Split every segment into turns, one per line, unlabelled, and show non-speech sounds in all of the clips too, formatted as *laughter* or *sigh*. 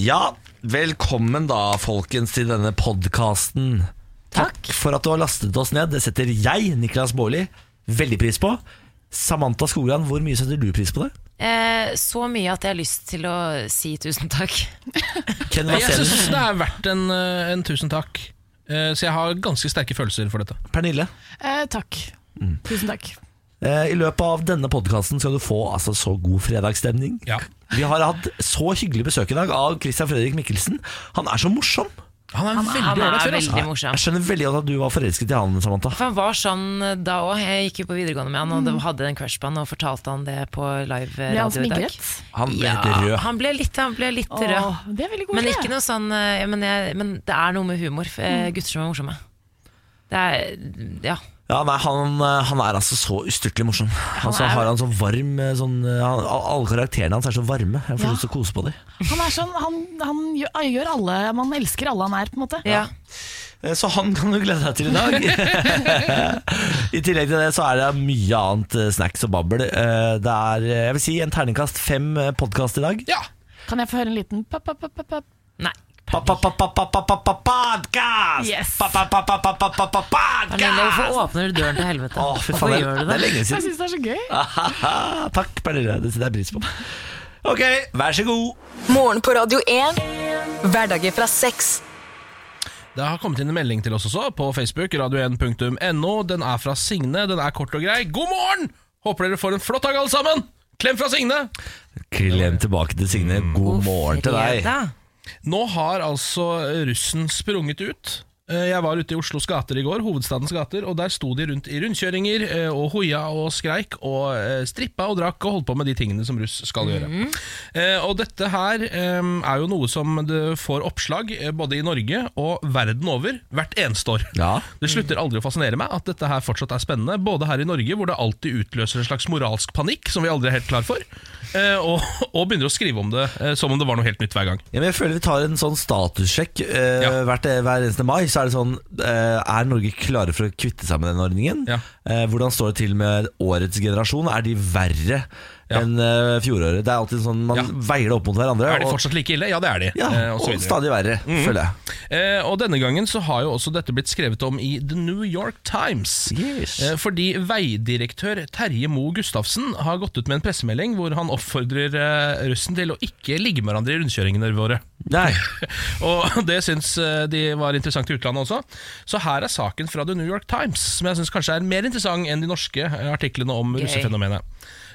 Ja, velkommen da, folkens, til denne podkasten. Takk for at du har lastet oss ned. Det setter jeg, Niklas Baarli, veldig pris på. Samantha Skogran, hvor mye setter du pris på det?
Eh, så mye at jeg har lyst til å si tusen takk.
Ken
Jeg
Vasenius,
syns det er verdt en, eh, en tusen takk. Eh, Så jeg har ganske sterke følelser for dette.
Pernille.
Eh, takk.
Mm.
Tusen takk.
Eh, I løpet av denne podkasten skal du få altså, så god fredagsstemning.
Ja.
Vi har hatt så hyggelig besøk i dag av Christian Fredrik Mikkelsen. Han er så morsom.
Han er en veldig
Han
ålreit
er
fyr. altså.
veldig morsom.
Jeg skjønner veldig godt at du var forelsket i han, Samantha.
For han var sånn eh, da òg. Jeg gikk jo på videregående med han og det- hadde en crush på han, og fortalte han det på live eh,
Ble han
radio i dag.
smigret?
Han ble
Ja,
helt rød.
han ble litt, han ble litt rød.
Åh, det er veldig
Men
koselig.
ikke noe sånn eh, men, jeg, men det er noe med humor. eh, Gutter som er morsomme. Det er Ja.
Ja, nei, han, han er altså så ustyrtelig morsom. Han altså,
er-
har han så varm sånn, han, Alle karakterene hans er så varme. Jeg får
Ja.
lyst til å kose på dem.
Han er sånn, han, han gjør, han gjør alle Man elsker alle han er, på en måte.
ja.
Eh, Så han kan du glede deg til i dag. *laughs* I tillegg til det så er det mye annet eh, snacks og babbel. Eh, Det er eh, jeg vil si, en terningkast fem podkast i dag.
Ja.
Kan jeg få høre en liten pa, pa, pa, pa, pa?
Nei.
Yes.
Podkast!
Pernille, hvorfor
Podkast!
åpner du døren til helvete?
Å, fy faen,
hvorfor
det,
gjør du
det
det?
er lenge
Jeg
siden.
syns det er så gøy.
Aha, *laughs* takk, Pernille. Det setter jeg pris på. Ok, vær så god.
Morgen på Radio 1. Hverdager fra seks.
Det har kommet inn en melding til oss også på Facebook, radio1.no. Den er fra Signe. Den er kort og grei. God morgen! Håper dere får en flott dag, alle sammen! Klem fra Signe!
Klem tilbake til Signe.
Mm.
God morgen til deg.
Fredag.
Nå har altså russen sprunget ut. Eh, Jeg var ute i Oslos gater i går, hovedstadens gater, og der sto de rundt i rundkjøringer eh, og hoia og skreik og eh, strippa og drakk og holdt på med de tingene som russ skal gjøre. Eh, Og dette her eh, er jo noe som det får oppslag eh, både i Norge og verden over hvert eneste år.
Ja.
Det slutter aldri å fascinere meg at dette her fortsatt er spennende, både her i Norge, hvor det alltid utløser en slags moralsk panikk, som vi aldri er helt klar for, eh, og, og begynner å skrive om det eh, som om det var noe helt nytt hver gang.
Ja, men jeg føler vi tar en sånn statussjekk eh,
Ja.
hvert, hver eneste mai. Så er det sånn eh, Er Norge klare for å kvitte seg med den ordningen?
Ja.
Eh, hvordan står det til med årets generasjon? Er de verre
Ja.
enn eh, fjoråret? Det er alltid sånn Man
Ja.
veier det opp mot hverandre.
Er de
og,
fortsatt like ille? Ja, det er de.
ja,
eh, og
og,
så videre. Mm.
stadig verre, føler jeg.
Eh, og denne gangen så har jo også dette blitt skrevet om i The New York Times.
Yes.
Eh, fordi veidirektør Terje Moe Gustavsen har gått ut med en pressemelding hvor han oppfordrer eh, russen til å ikke ligge med hverandre i rundkjøringene våre. *laughs*
Nei.
Og *laughs* det syns eh, de var interessant i utlandet også. Så her er saken fra The New York Times, som jeg syns kanskje er mer interessant enn de norske eh, artiklene om russefenomenet.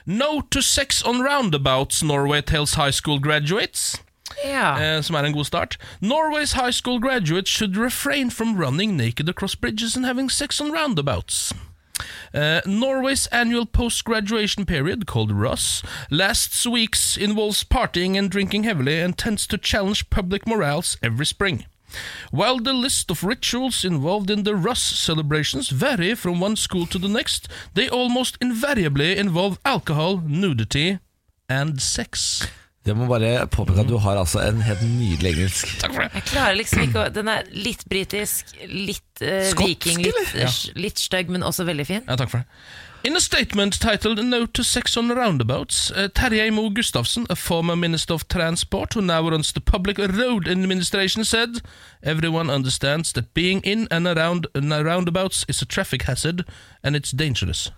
No to sex on roundabouts, Norway tells high school graduates.
Ja.
Eh, som er en god start. Norway's high school graduates should refrain from running naked across bridges and having sex on roundabouts. Eh, Norway's annual post-graduation period, called RUS, lasts weeks, involves partying and drinking heavily, and tends to challenge public morals every spring. While the list of rituals involved in the RUS celebrations vary from one school to the next, they almost invariably involve alcohol, nudity, and sex.
Jeg må bare påpeke at du har altså en helt nydelig engelsk.
Takk for det.
Jeg klarer liksom ikke å Den er litt britisk, litt eh,
Skotsk,
viking, litt, eh, litt stygg, men også veldig fin.
Ja, takk for det. In a statement titled No to Sex on Roundabouts, uh, Terje Mo Gustavsen, a former Minister of Transport who now runs the Public Road Administration, said Everyone understands that being in and around and roundabouts is a traffic hazard and it's dangerous.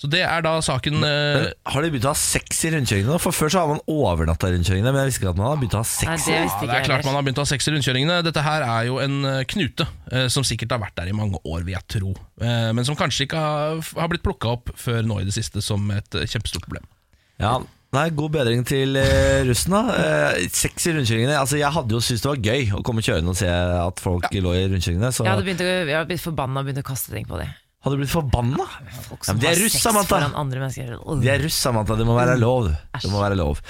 Så det er da
Mm.
saken eh,
Har de begynt å ha sex i rundkjøringene? nå? For Før så har man overnatta i rundkjøringene, men jeg visste ikke at man har begynt å ha
Nei,
sex.
det
ja,
visste
Det
ikke
er
jeg
klart man
heller.
har begynt å ha sex i rundkjøringene. Dette her er jo en eh, knute eh, som sikkert har vært der i mange år, vil jeg tro. Eh, Men som kanskje ikke har, har blitt plukka opp før nå i det siste som et eh, kjempestort problem.
Ja, Nei, God bedring til eh, russen, da. Eh, sex i rundkjøringene. Altså, jeg hadde jo syntes det var gøy å komme kjørende og se at folk lå i rundkjøringene. Så
Jeg hadde
hadde,
begynt å, jeg hadde blitt forbanna og begynt å kaste ting på dem.
du blitt forbanna.
Folk
Ja, men
som
det er
har
russ,
sex
Samantha.
foran Mm. andre mennesker. Åh.
De er russ, Samantha. Det må være lov. du. Det må være lov.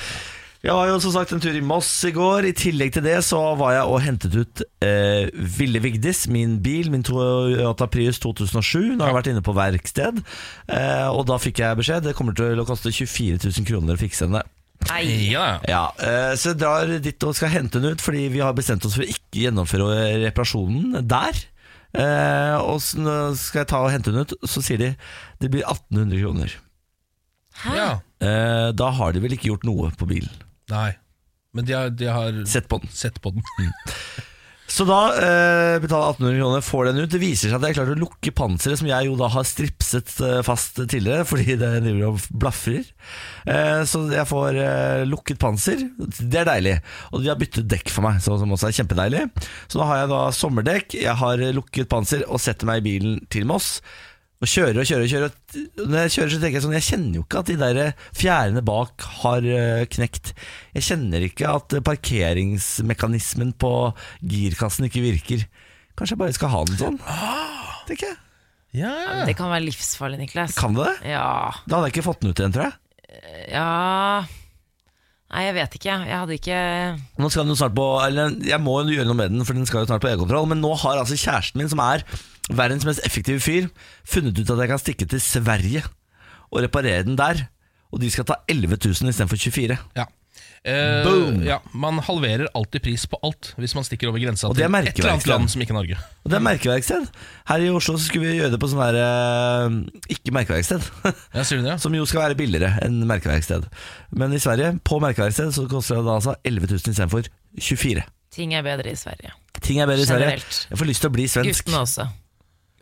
Jeg var jo som sagt en tur i Moss i går. I tillegg til det så var jeg og hentet ut eh, Ville Vigdis, min bil, min Toyota Prius 2007. Nå har jeg vært inne på verksted, eh, og da fikk jeg beskjed. Det kommer til å koste 24 000 kroner å fikse henne.
Nei,
Ja,
Ja, eh, så jeg drar dit og skal hente den ut Fordi vi har bestemt oss for å ikke gjennomføre reparasjonen der eh, Og så nå skal jeg ta og hente den ut Så sier de Det blir 1800 kroner
Hæ?
ja.
eh, Da har de vel ikke gjort noe på bilen
Nei. Men de har, de har
Sett Mm. på den.
sett på den.
Så da eh, betaler 1800 kroner, får den ut. Det viser seg at jeg har klart å lukke panseret, som jeg jo da har stripset eh, fast tidligere, *laughs* fordi det driver og blafrer. Eh, så jeg får eh, lukket panser. Det er deilig. Og de har byttet dekk for meg, så, som også er kjempedeilig. Så da har jeg da sommerdekk, jeg har eh, lukket panser og setter meg i bilen til Moss. Og kjører og kjører og kjører. Og Når jeg kjører, så tenker jeg sånn Jeg kjenner jo ikke at de der eh, fjærene bak har eh, knekt. Jeg kjenner ikke at eh, parkeringsmekanismen på girkassen ikke virker. Kanskje jeg bare skal ha den sånn? Tenker jeg.
Ja,
Det kan være livsfarlig, Niklas.
Kan det det?
Ja,
Da hadde jeg ikke fått den ut igjen, tror jeg.
ja Nei, jeg vet ikke. Jeg hadde ikke
Nå skal den jo snart på Eller jeg må jo gjøre noe med den, for den skal jo snart på egenkontroll. Men nå har altså kjæresten min, som er verdens mest effektive fyr, funnet ut at jeg kan stikke til Sverige og reparere den der. Og de skal ta 11 000 istedenfor 24
ja. Eh,
Boom.
Ja, man halverer alltid pris på alt hvis man stikker over grensa
Og
til
det er
et eller annet
merkeverksted.
land som ikke er Norge.
Og det er merkeverksted. Her i Oslo så skulle vi gjøre det på sånn her eh, Ikke merkeverksted, *laughs*
Ja, sier du det? ja?
som jo skal være billigere enn merkeverksted. Men i Sverige, på merkeverksted, så koster det da altså 11 000 istedenfor 24
Ting er bedre i Sverige.
Ting er bedre i Sverige.
Generelt.
Jeg får lyst til å bli svensk.
Guttene også.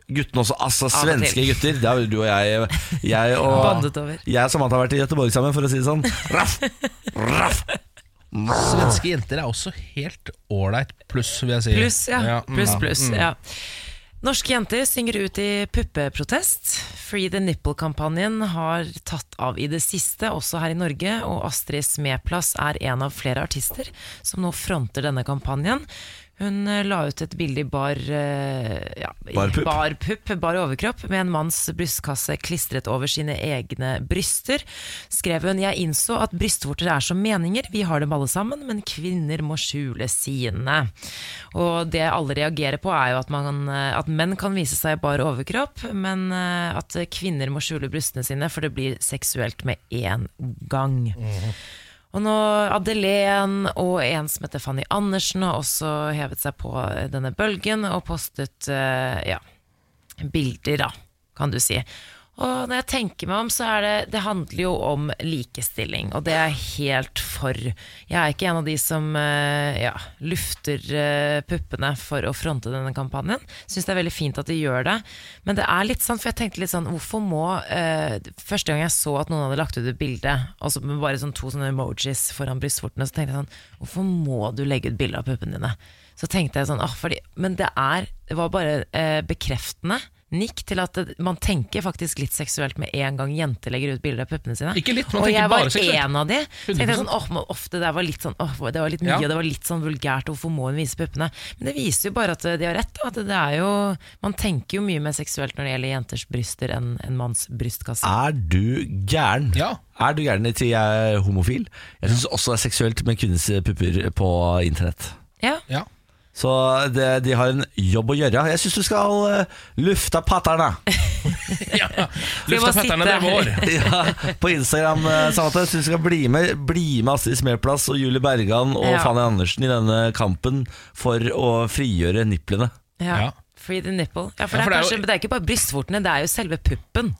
Guttene også. Altså,
Av og
svenske
til.
gutter. Det har jo du og jeg, jeg og
Bandet over.
jeg og Samantha har vært i Göteborg sammen, for å si det sånn. Raff! Raff!
Svenske Ah. jenter er også helt ålreit pluss, vil jeg si.
Pluss, ja.
mm,
Pluss,
ja.
pluss.
Mm.
Ja. Norske jenter synger ut i puppeprotest. Free the Nipple-kampanjen har tatt av i det siste, også her i Norge, og Astrid Smeplass er en av flere artister som nå fronter denne kampanjen. Hun eh, la ut et bilde i bar eh, ja, i
Barpupp.
bar, pupp, bar overkropp, med en manns brystkasse klistret over sine egne bryster. Skrev hun 'Jeg innså at brystvorter er som meninger, vi har dem alle sammen, men kvinner må skjule sine'. Og det alle reagerer på, er jo at, man, at menn kan vise seg i bar overkropp, men eh, at kvinner må skjule brystene sine, for det blir seksuelt med én gang. Og nå Adelén og en som heter Fanny Andersen har også hevet seg på denne bølgen og postet eh, ja, bilder, da, kan du si. Og når jeg tenker meg om, så er det Det handler jo om likestilling, og det er jeg helt for. Jeg er ikke en av de som eh, ja, lufter eh, puppene for å fronte denne kampanjen. Syns det er veldig fint at de gjør det, men det er litt sånn, for jeg tenkte litt sånn Hvorfor må eh, Første gang jeg så at noen hadde lagt ut et bilde, altså med bare sånn to sånne emojis foran brystvortene, så tenkte jeg sånn Hvorfor må du legge ut bilde av puppene dine? Så tenkte jeg sånn ah, fordi, Men det er Det var bare eh, bekreftende nikk til at det, man tenker faktisk litt seksuelt med en gang jenter legger ut bilder av puppene sine.
Ikke litt, man
og
tenker
jeg
bare
var
seksuelt.
en av de. Så tenkte jeg
100%.
sånn, åh, men ofte det var litt sånn åh, Det var litt mye,
Ja.
og det var litt sånn vulgært, og hvorfor må hun vise puppene? Men det viser jo bare at eh, de har rett. da, At det er jo Man tenker jo mye mer seksuelt når det gjelder jenters bryster enn en manns brystkasse.
Er du gæren?
Ja.
Er du gæren til jeg er homofil? Jeg syns også det er seksuelt med kvinners pupper på internett.
Ja, *laughs*
Ja.
Så det, de har en jobb å gjøre. Jeg syns du skal eh, lufte patterne
*laughs*
ja.
vi bare
Lufta fetterne, det
sitte
er
her?
vår.
ja, på Instagram. eh, Samantha. Jeg syns du skal bli med, bli med Astrid Smeplass og Julie Bergan og
Ja.
Fanny Andersen i denne kampen for å frigjøre niplene.
ja.
Ja.
Free the nipple. Ja, for, det,
Ja, for det
er
er jo-
kanskje, det er ikke bare brystvortene, det er jo selve puppen.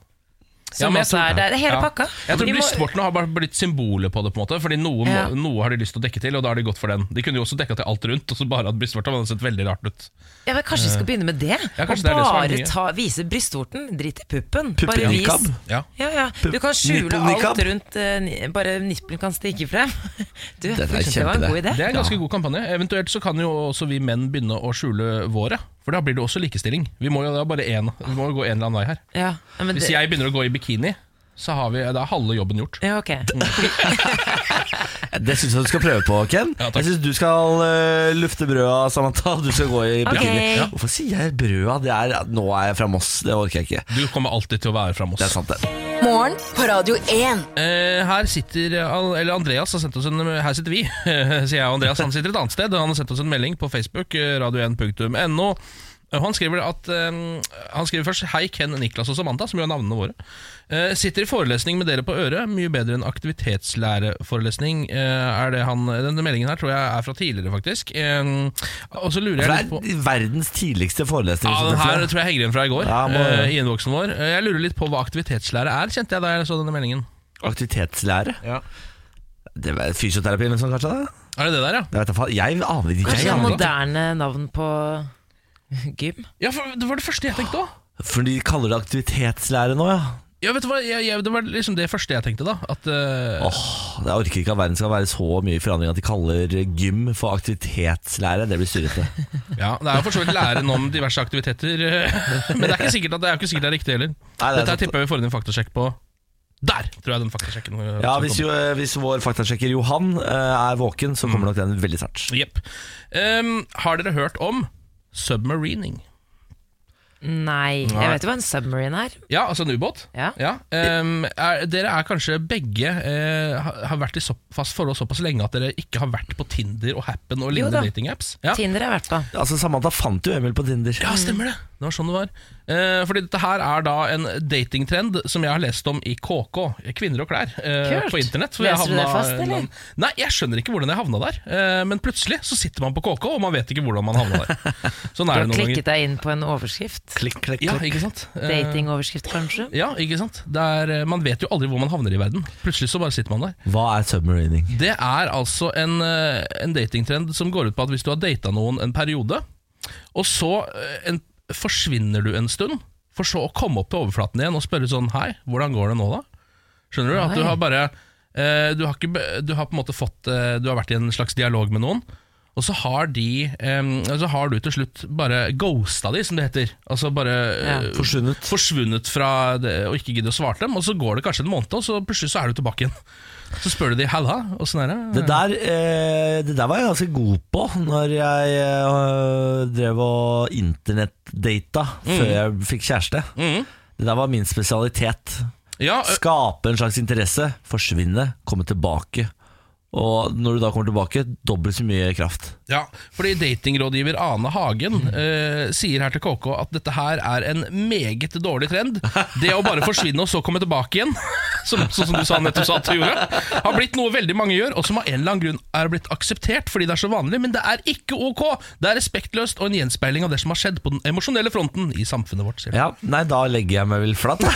Som
men jeg
også
tror-
er, det er hele
Ja.
pakka.
Jeg tror
Vi må-
brystvortene har bare blitt symbolet på det. på en måte Fordi noe, må-
Ja.
noe har de lyst til å dekke til, og da har de gått for den. De kunne jo også dekka til alt rundt, og så bare hatt brystvorter. Men det hadde sett veldig rart ut.
Ja, men Kanskje vi skal begynne med det?
Eh, Ja,
og
kanskje det er det som er
bare
det nye.
ta, vise brystvorten. Drit i puppen.
Puppe
Bare vis.
niqab.
Ja.
Ja, ja. Du kan skjule
nippelniqab.
alt rundt eh, ni- Bare nippelen kan stikke frem. *laughs* Du,
Dette er
kanskje det var en
kjempeidé.
god idé.
Det er en ganske god kampanje. Eventuelt så kan jo også vi menn begynne å skjule våre. For da blir det også likestilling. Vi må jo da bare en, vi må jo gå en eller annen vei her.
Ja, ja, men
Hvis
det,
jeg begynner å gå i bikini, så har vi, da er halve jobben gjort.
ja, ok.
Det syns jeg du skal prøve på, Ken.
Ja, takk.
jeg syns du skal eh, lufte brøda, Samantha. Du skal gå i bikini.
Ok. Ja.
Hvorfor sier jeg brøda? Det er, nå er jeg fra Moss, det orker jeg ikke.
Du kommer alltid til å være fra Moss.
Det er sant, det.
Morgen på Radio 1.
Eh, her sitter Al- eller Andreas har sendt oss en Her sitter vi, *laughs* sier jeg og Andreas. Han sitter et annet sted. Han har sendt oss en melding på Facebook, eh, radio1.no. Og Han skriver, at, eh, han skriver først Hei, Ken, Niklas og Samantha, som jo er navnene våre. Eh, sitter i forelesning med dere på øret. Mye bedre enn aktivitetslæreforelesning. Eh, er det han, denne meldingen her tror jeg er fra tidligere, faktisk. Eh, og så lurer jeg
For
litt på
det er verdens tidligste forelesning.
Ja,
som
den
dette
her
er.
tror jeg henger igjen fra i går.
Ja, må-
eh, I innboksen vår. Eh, Jeg lurer litt på hva aktivitetslære er, kjente jeg da jeg så denne meldingen.
Aktivitetslære.
Ja.
Det var fysioterapi eller noe sånt, kanskje? da?
Er det det der, ja?
Jeg, vet, da faen, jeg aner ikke.
Kanskje det
Jeg aner
er
ikke.
moderne navn på gym?
Ja, for Det var det første jeg tenkte òg.
For de kaller det aktivitetslære nå, ja.
Ja, vet du hva? Jeg, jeg, det var liksom det første jeg tenkte, da. At eh,
Åh, Jeg orker ikke at verden skal være så mye i forandring at de kaller gym for aktivitetslære. Det blir surrete.
Ja, Det er jo for så vidt læren om diverse aktiviteter, eh, *laughs* men det er ikke sikkert at det er, jo ikke sikkert det er riktig heller.
Nei, det er
Dette her
sant.
tipper jeg vi får inn en faktasjekk på. Der tror jeg den faktasjekken eh,
Ja,
som
hvis,
kommer.
jo, eh, hvis vår faktasjekker Johan eh, er våken, så
Mm.
kommer nok den veldig snart.
Jepp. Ehm, har dere hørt om submarining?
Nei. Jeg vet jo hva en submarine er.
Ja, altså en ubåt?
Ja.
Ehm, er, dere er kanskje begge eh, ha- har vært i så, fast forhold såpass lenge at dere ikke har vært på Tinder og Happen og
da.
lignende datingapps? Ja.
Tinder har jeg vært på.
Altså, Samantha fant jo Emil på Tinder.
Ja, stemmer det. Det var sånn det var. Eh, fordi dette her er da en datingtrend som jeg har lest om i KK, Kvinner og klær, eh,
Kult.
på internett. for
Leser
jeg
du det fast,
en
eller?
annen- Nei, jeg skjønner ikke hvordan jeg havna der. Eh, men plutselig så sitter man på KK, og man vet ikke hvordan man havna der.
*laughs*
Sånn
Du
er
har
det noen ganger.
klikket deg inn på en overskrift.
Klikk, klikk,
Ja,
klikk.
ikke sant? Eh,
Datingoverskrift, kanskje.
ja, ikke sant? Det er, eh, man vet jo aldri hvor man havner i verden. Plutselig så bare sitter man der.
Hva er submarining?
Det er altså en, eh, en datingtrend som går ut på at hvis du har data noen en periode, og så eh, en, forsvinner du en stund, for så å komme opp til overflaten igjen og spørre sånn Hei, hvordan går det nå, da? Skjønner du? At du
Oi.
har bare eh, du, har ikke, be- du har på en måte fått eh, Du har vært i en slags dialog med noen. Og så har, de, eh, så har du til slutt bare ghosta de, som det heter. Altså bare
Ja.
eh,
Forsvunnet.
forsvunnet fra det, og ikke gidder å svare dem. Og så går det kanskje en måned, og så plutselig så er du tilbake igjen. Så spør du de halla, åssen er det?
Det der, eh, det der var jeg ganske god på når jeg eh, drev og internettdata før jeg fikk kjæreste.
Mhm.
Det der var min spesialitet.
Ja, ø-
Skape en slags interesse, forsvinne, komme tilbake. Og når du da kommer tilbake, dobbelt så mye kraft.
ja, fordi datingrådgiver Ane Hagen eh, sier her til KK at dette her er en meget dårlig trend. Det å bare forsvinne og så komme tilbake igjen, *laughs* som, sånn som du sa nettopp sa at du gjorde, har blitt noe veldig mange gjør, og som av en eller annen grunn er blitt akseptert fordi det er så vanlig, men det er ikke ok. Det er respektløst og en gjenspeiling av det som har skjedd på den emosjonelle fronten i samfunnet vårt. Sier. hun.
Ja, Nei, da legger jeg meg vel flat.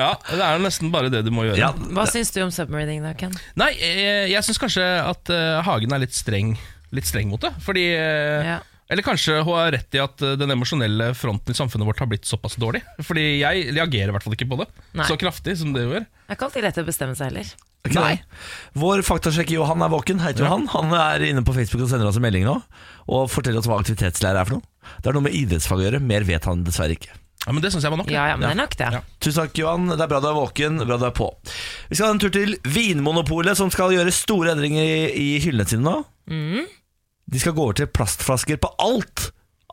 Ja, det er nesten bare det du må gjøre.
*laughs* Ja,
Hva syns du om submarining, da, Ken?
Nei, eh, jeg, jeg syns kanskje at eh, Hagen er litt streng, litt streng mot det. Fordi eh,
Ja.
Eller kanskje hun har rett i at eh, den emosjonelle fronten i samfunnet vårt har blitt såpass dårlig. Fordi jeg reagerer i hvert fall ikke på det
Nei.
så kraftig som det gjør.
Det er ikke alltid lett å bestemme seg heller.
Ok, da. Vår faktasjekker Johan er våken. Hei til Johan. Han er inne på Facebook og sender oss en melding nå. Og forteller oss hva aktivitetslære er for noe. Det er noe med idrettsfag å gjøre. Mer vet han dessverre ikke.
Ja, Men det syns jeg var nok.
Ja, ja, men det er nok det.
Ja.
Tusen takk, Johan. Det er bra du er våken. Bra du er på. Vi skal ha en tur til Vinmonopolet, som skal gjøre store endringer i, i hyllene sine nå. De skal gå over til plastflasker på alt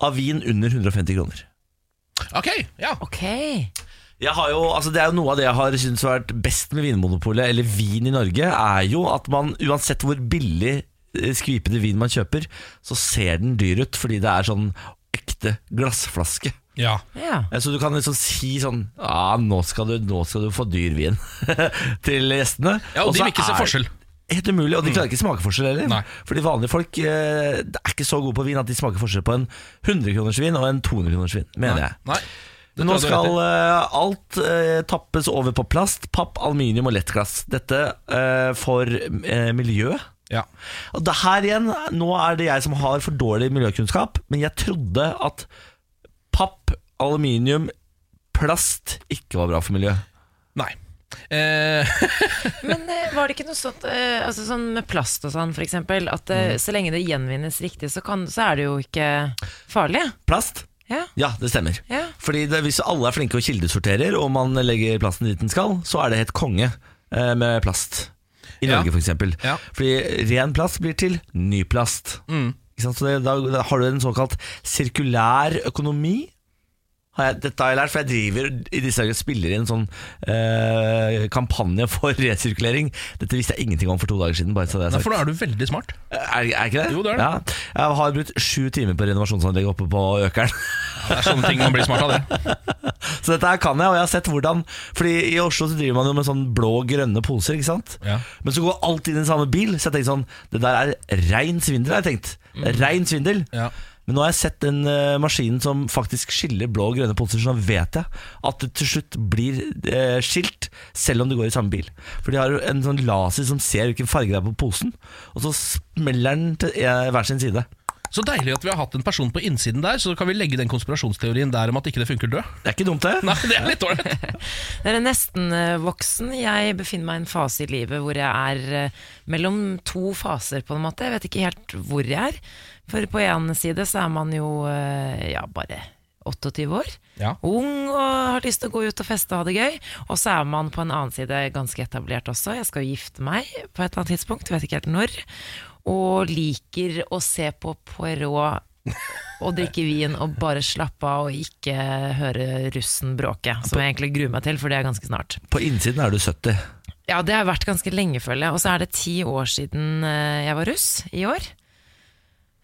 av vin under 150 kroner.
Ok, ja
Ok.
Jeg har jo, altså det er jo Noe av det jeg har syntes har vært best med Vinmonopolet, eller vin i Norge, er jo at man uansett hvor billig eh, skvipende vin man kjøper, så ser den dyr ut fordi det er sånn ekte glassflaske.
Ja,
Ja.
Eh, Så du kan liksom si sånn Ja, nå skal du, nå skal du få dyr vin *laughs* til gjestene.
ja Og de
så
vil ikke se
er-
forskjell. Mm.
Helt umulig, og de klarer ikke smakeforskjell heller.
Nei.
Fordi vanlige folk eh, det er ikke så gode på vin at de smaker forskjell på en 100-kronersvin og en 200-kronersvin, mener jeg.
Nei. Det
Nå
tror jeg du har
skal
rett i.
eh, alt eh, tappes over på plast, papp, aluminium og lettglass. Dette eh, for eh, miljøet.
ja.
Og det her igjen, nå er det jeg som har for dårlig miljøkunnskap, men jeg trodde at papp, aluminium, plast ikke var bra for miljøet.
Nei. Eh,
Men eh, var det ikke noe sånt eh, altså sånn med plast og sånn, for eksempel, at eh, så lenge det gjenvinnes riktig, så, kan, så er det jo ikke farlig?
Plast?
Ja.
Ja, det stemmer.
ja.
Fordi det, hvis alle er flinke og kildesorterer, og man legger plasten dit den skal, så er det helt konge eh, med plast. I
Ja.
Norge, for eksempel.
Ja. Mm.
Fordi ren plast blir til ny plast. Ikke sant? Så det, da, da har du en såkalt sirkulær økonomi. Har jeg, dette har jeg lært, for jeg driver i disse dager og spiller i en sånn eh, kampanje for resirkulering. Dette visste jeg ingenting om for to dager siden. Bare så det er
nei,
sagt.
for da er du veldig smart.
Er, er ikke det?
Jo, det er det.
Ja. Jeg har brukt sju timer på renovasjonsanlegget oppe på Økeren.
Det er sånne ting man blir smart av, det.
Så dette her kan jeg, og jeg har sett hvordan Fordi i Oslo så driver man jo med sånn blå-grønne poser, ikke sant?
Ja.
Men så går alt inn i den samme bil, så jeg tenkte sånn Det der er rein svindel, har jeg tenkt. Rein svindel.
Mm. Ja.
Men nå har jeg sett den eh, maskinen som faktisk skiller blå og grønne poser, så nå vet jeg at det til slutt blir eh, skilt, selv om du går i samme bil. For de har jo en sånn laser som ser hvilken farge det er på posen, og så smeller den til eh, hver sin side.
Så deilig at vi har hatt en person på innsiden der, så kan vi legge den konspirasjonsteorien der om at ikke det funker død.
Det er ikke dumt, det.
Nei, det er litt ålreit.
Dere er nesten eh, voksen. Jeg befinner meg i en fase i livet hvor jeg er eh, mellom to faser, på en måte. Jeg vet ikke helt hvor jeg er. For på en side så er man jo eh, ja, bare 28 år.
Ja.
Ung og har lyst til å gå ut og feste og ha det gøy. Og så er man på en annen side ganske etablert også. Jeg skal jo gifte meg på et eller annet tidspunkt, vet ikke helt når. Og liker å se på Poirot og drikke vin og bare slappe av og ikke høre russen bråke. Som jeg egentlig gruer meg til, for det er ganske snart.
På innsiden er du 70.
Ja, det har vært ganske lenge, føler jeg. Og så er det ti år siden eh, jeg var russ, i år.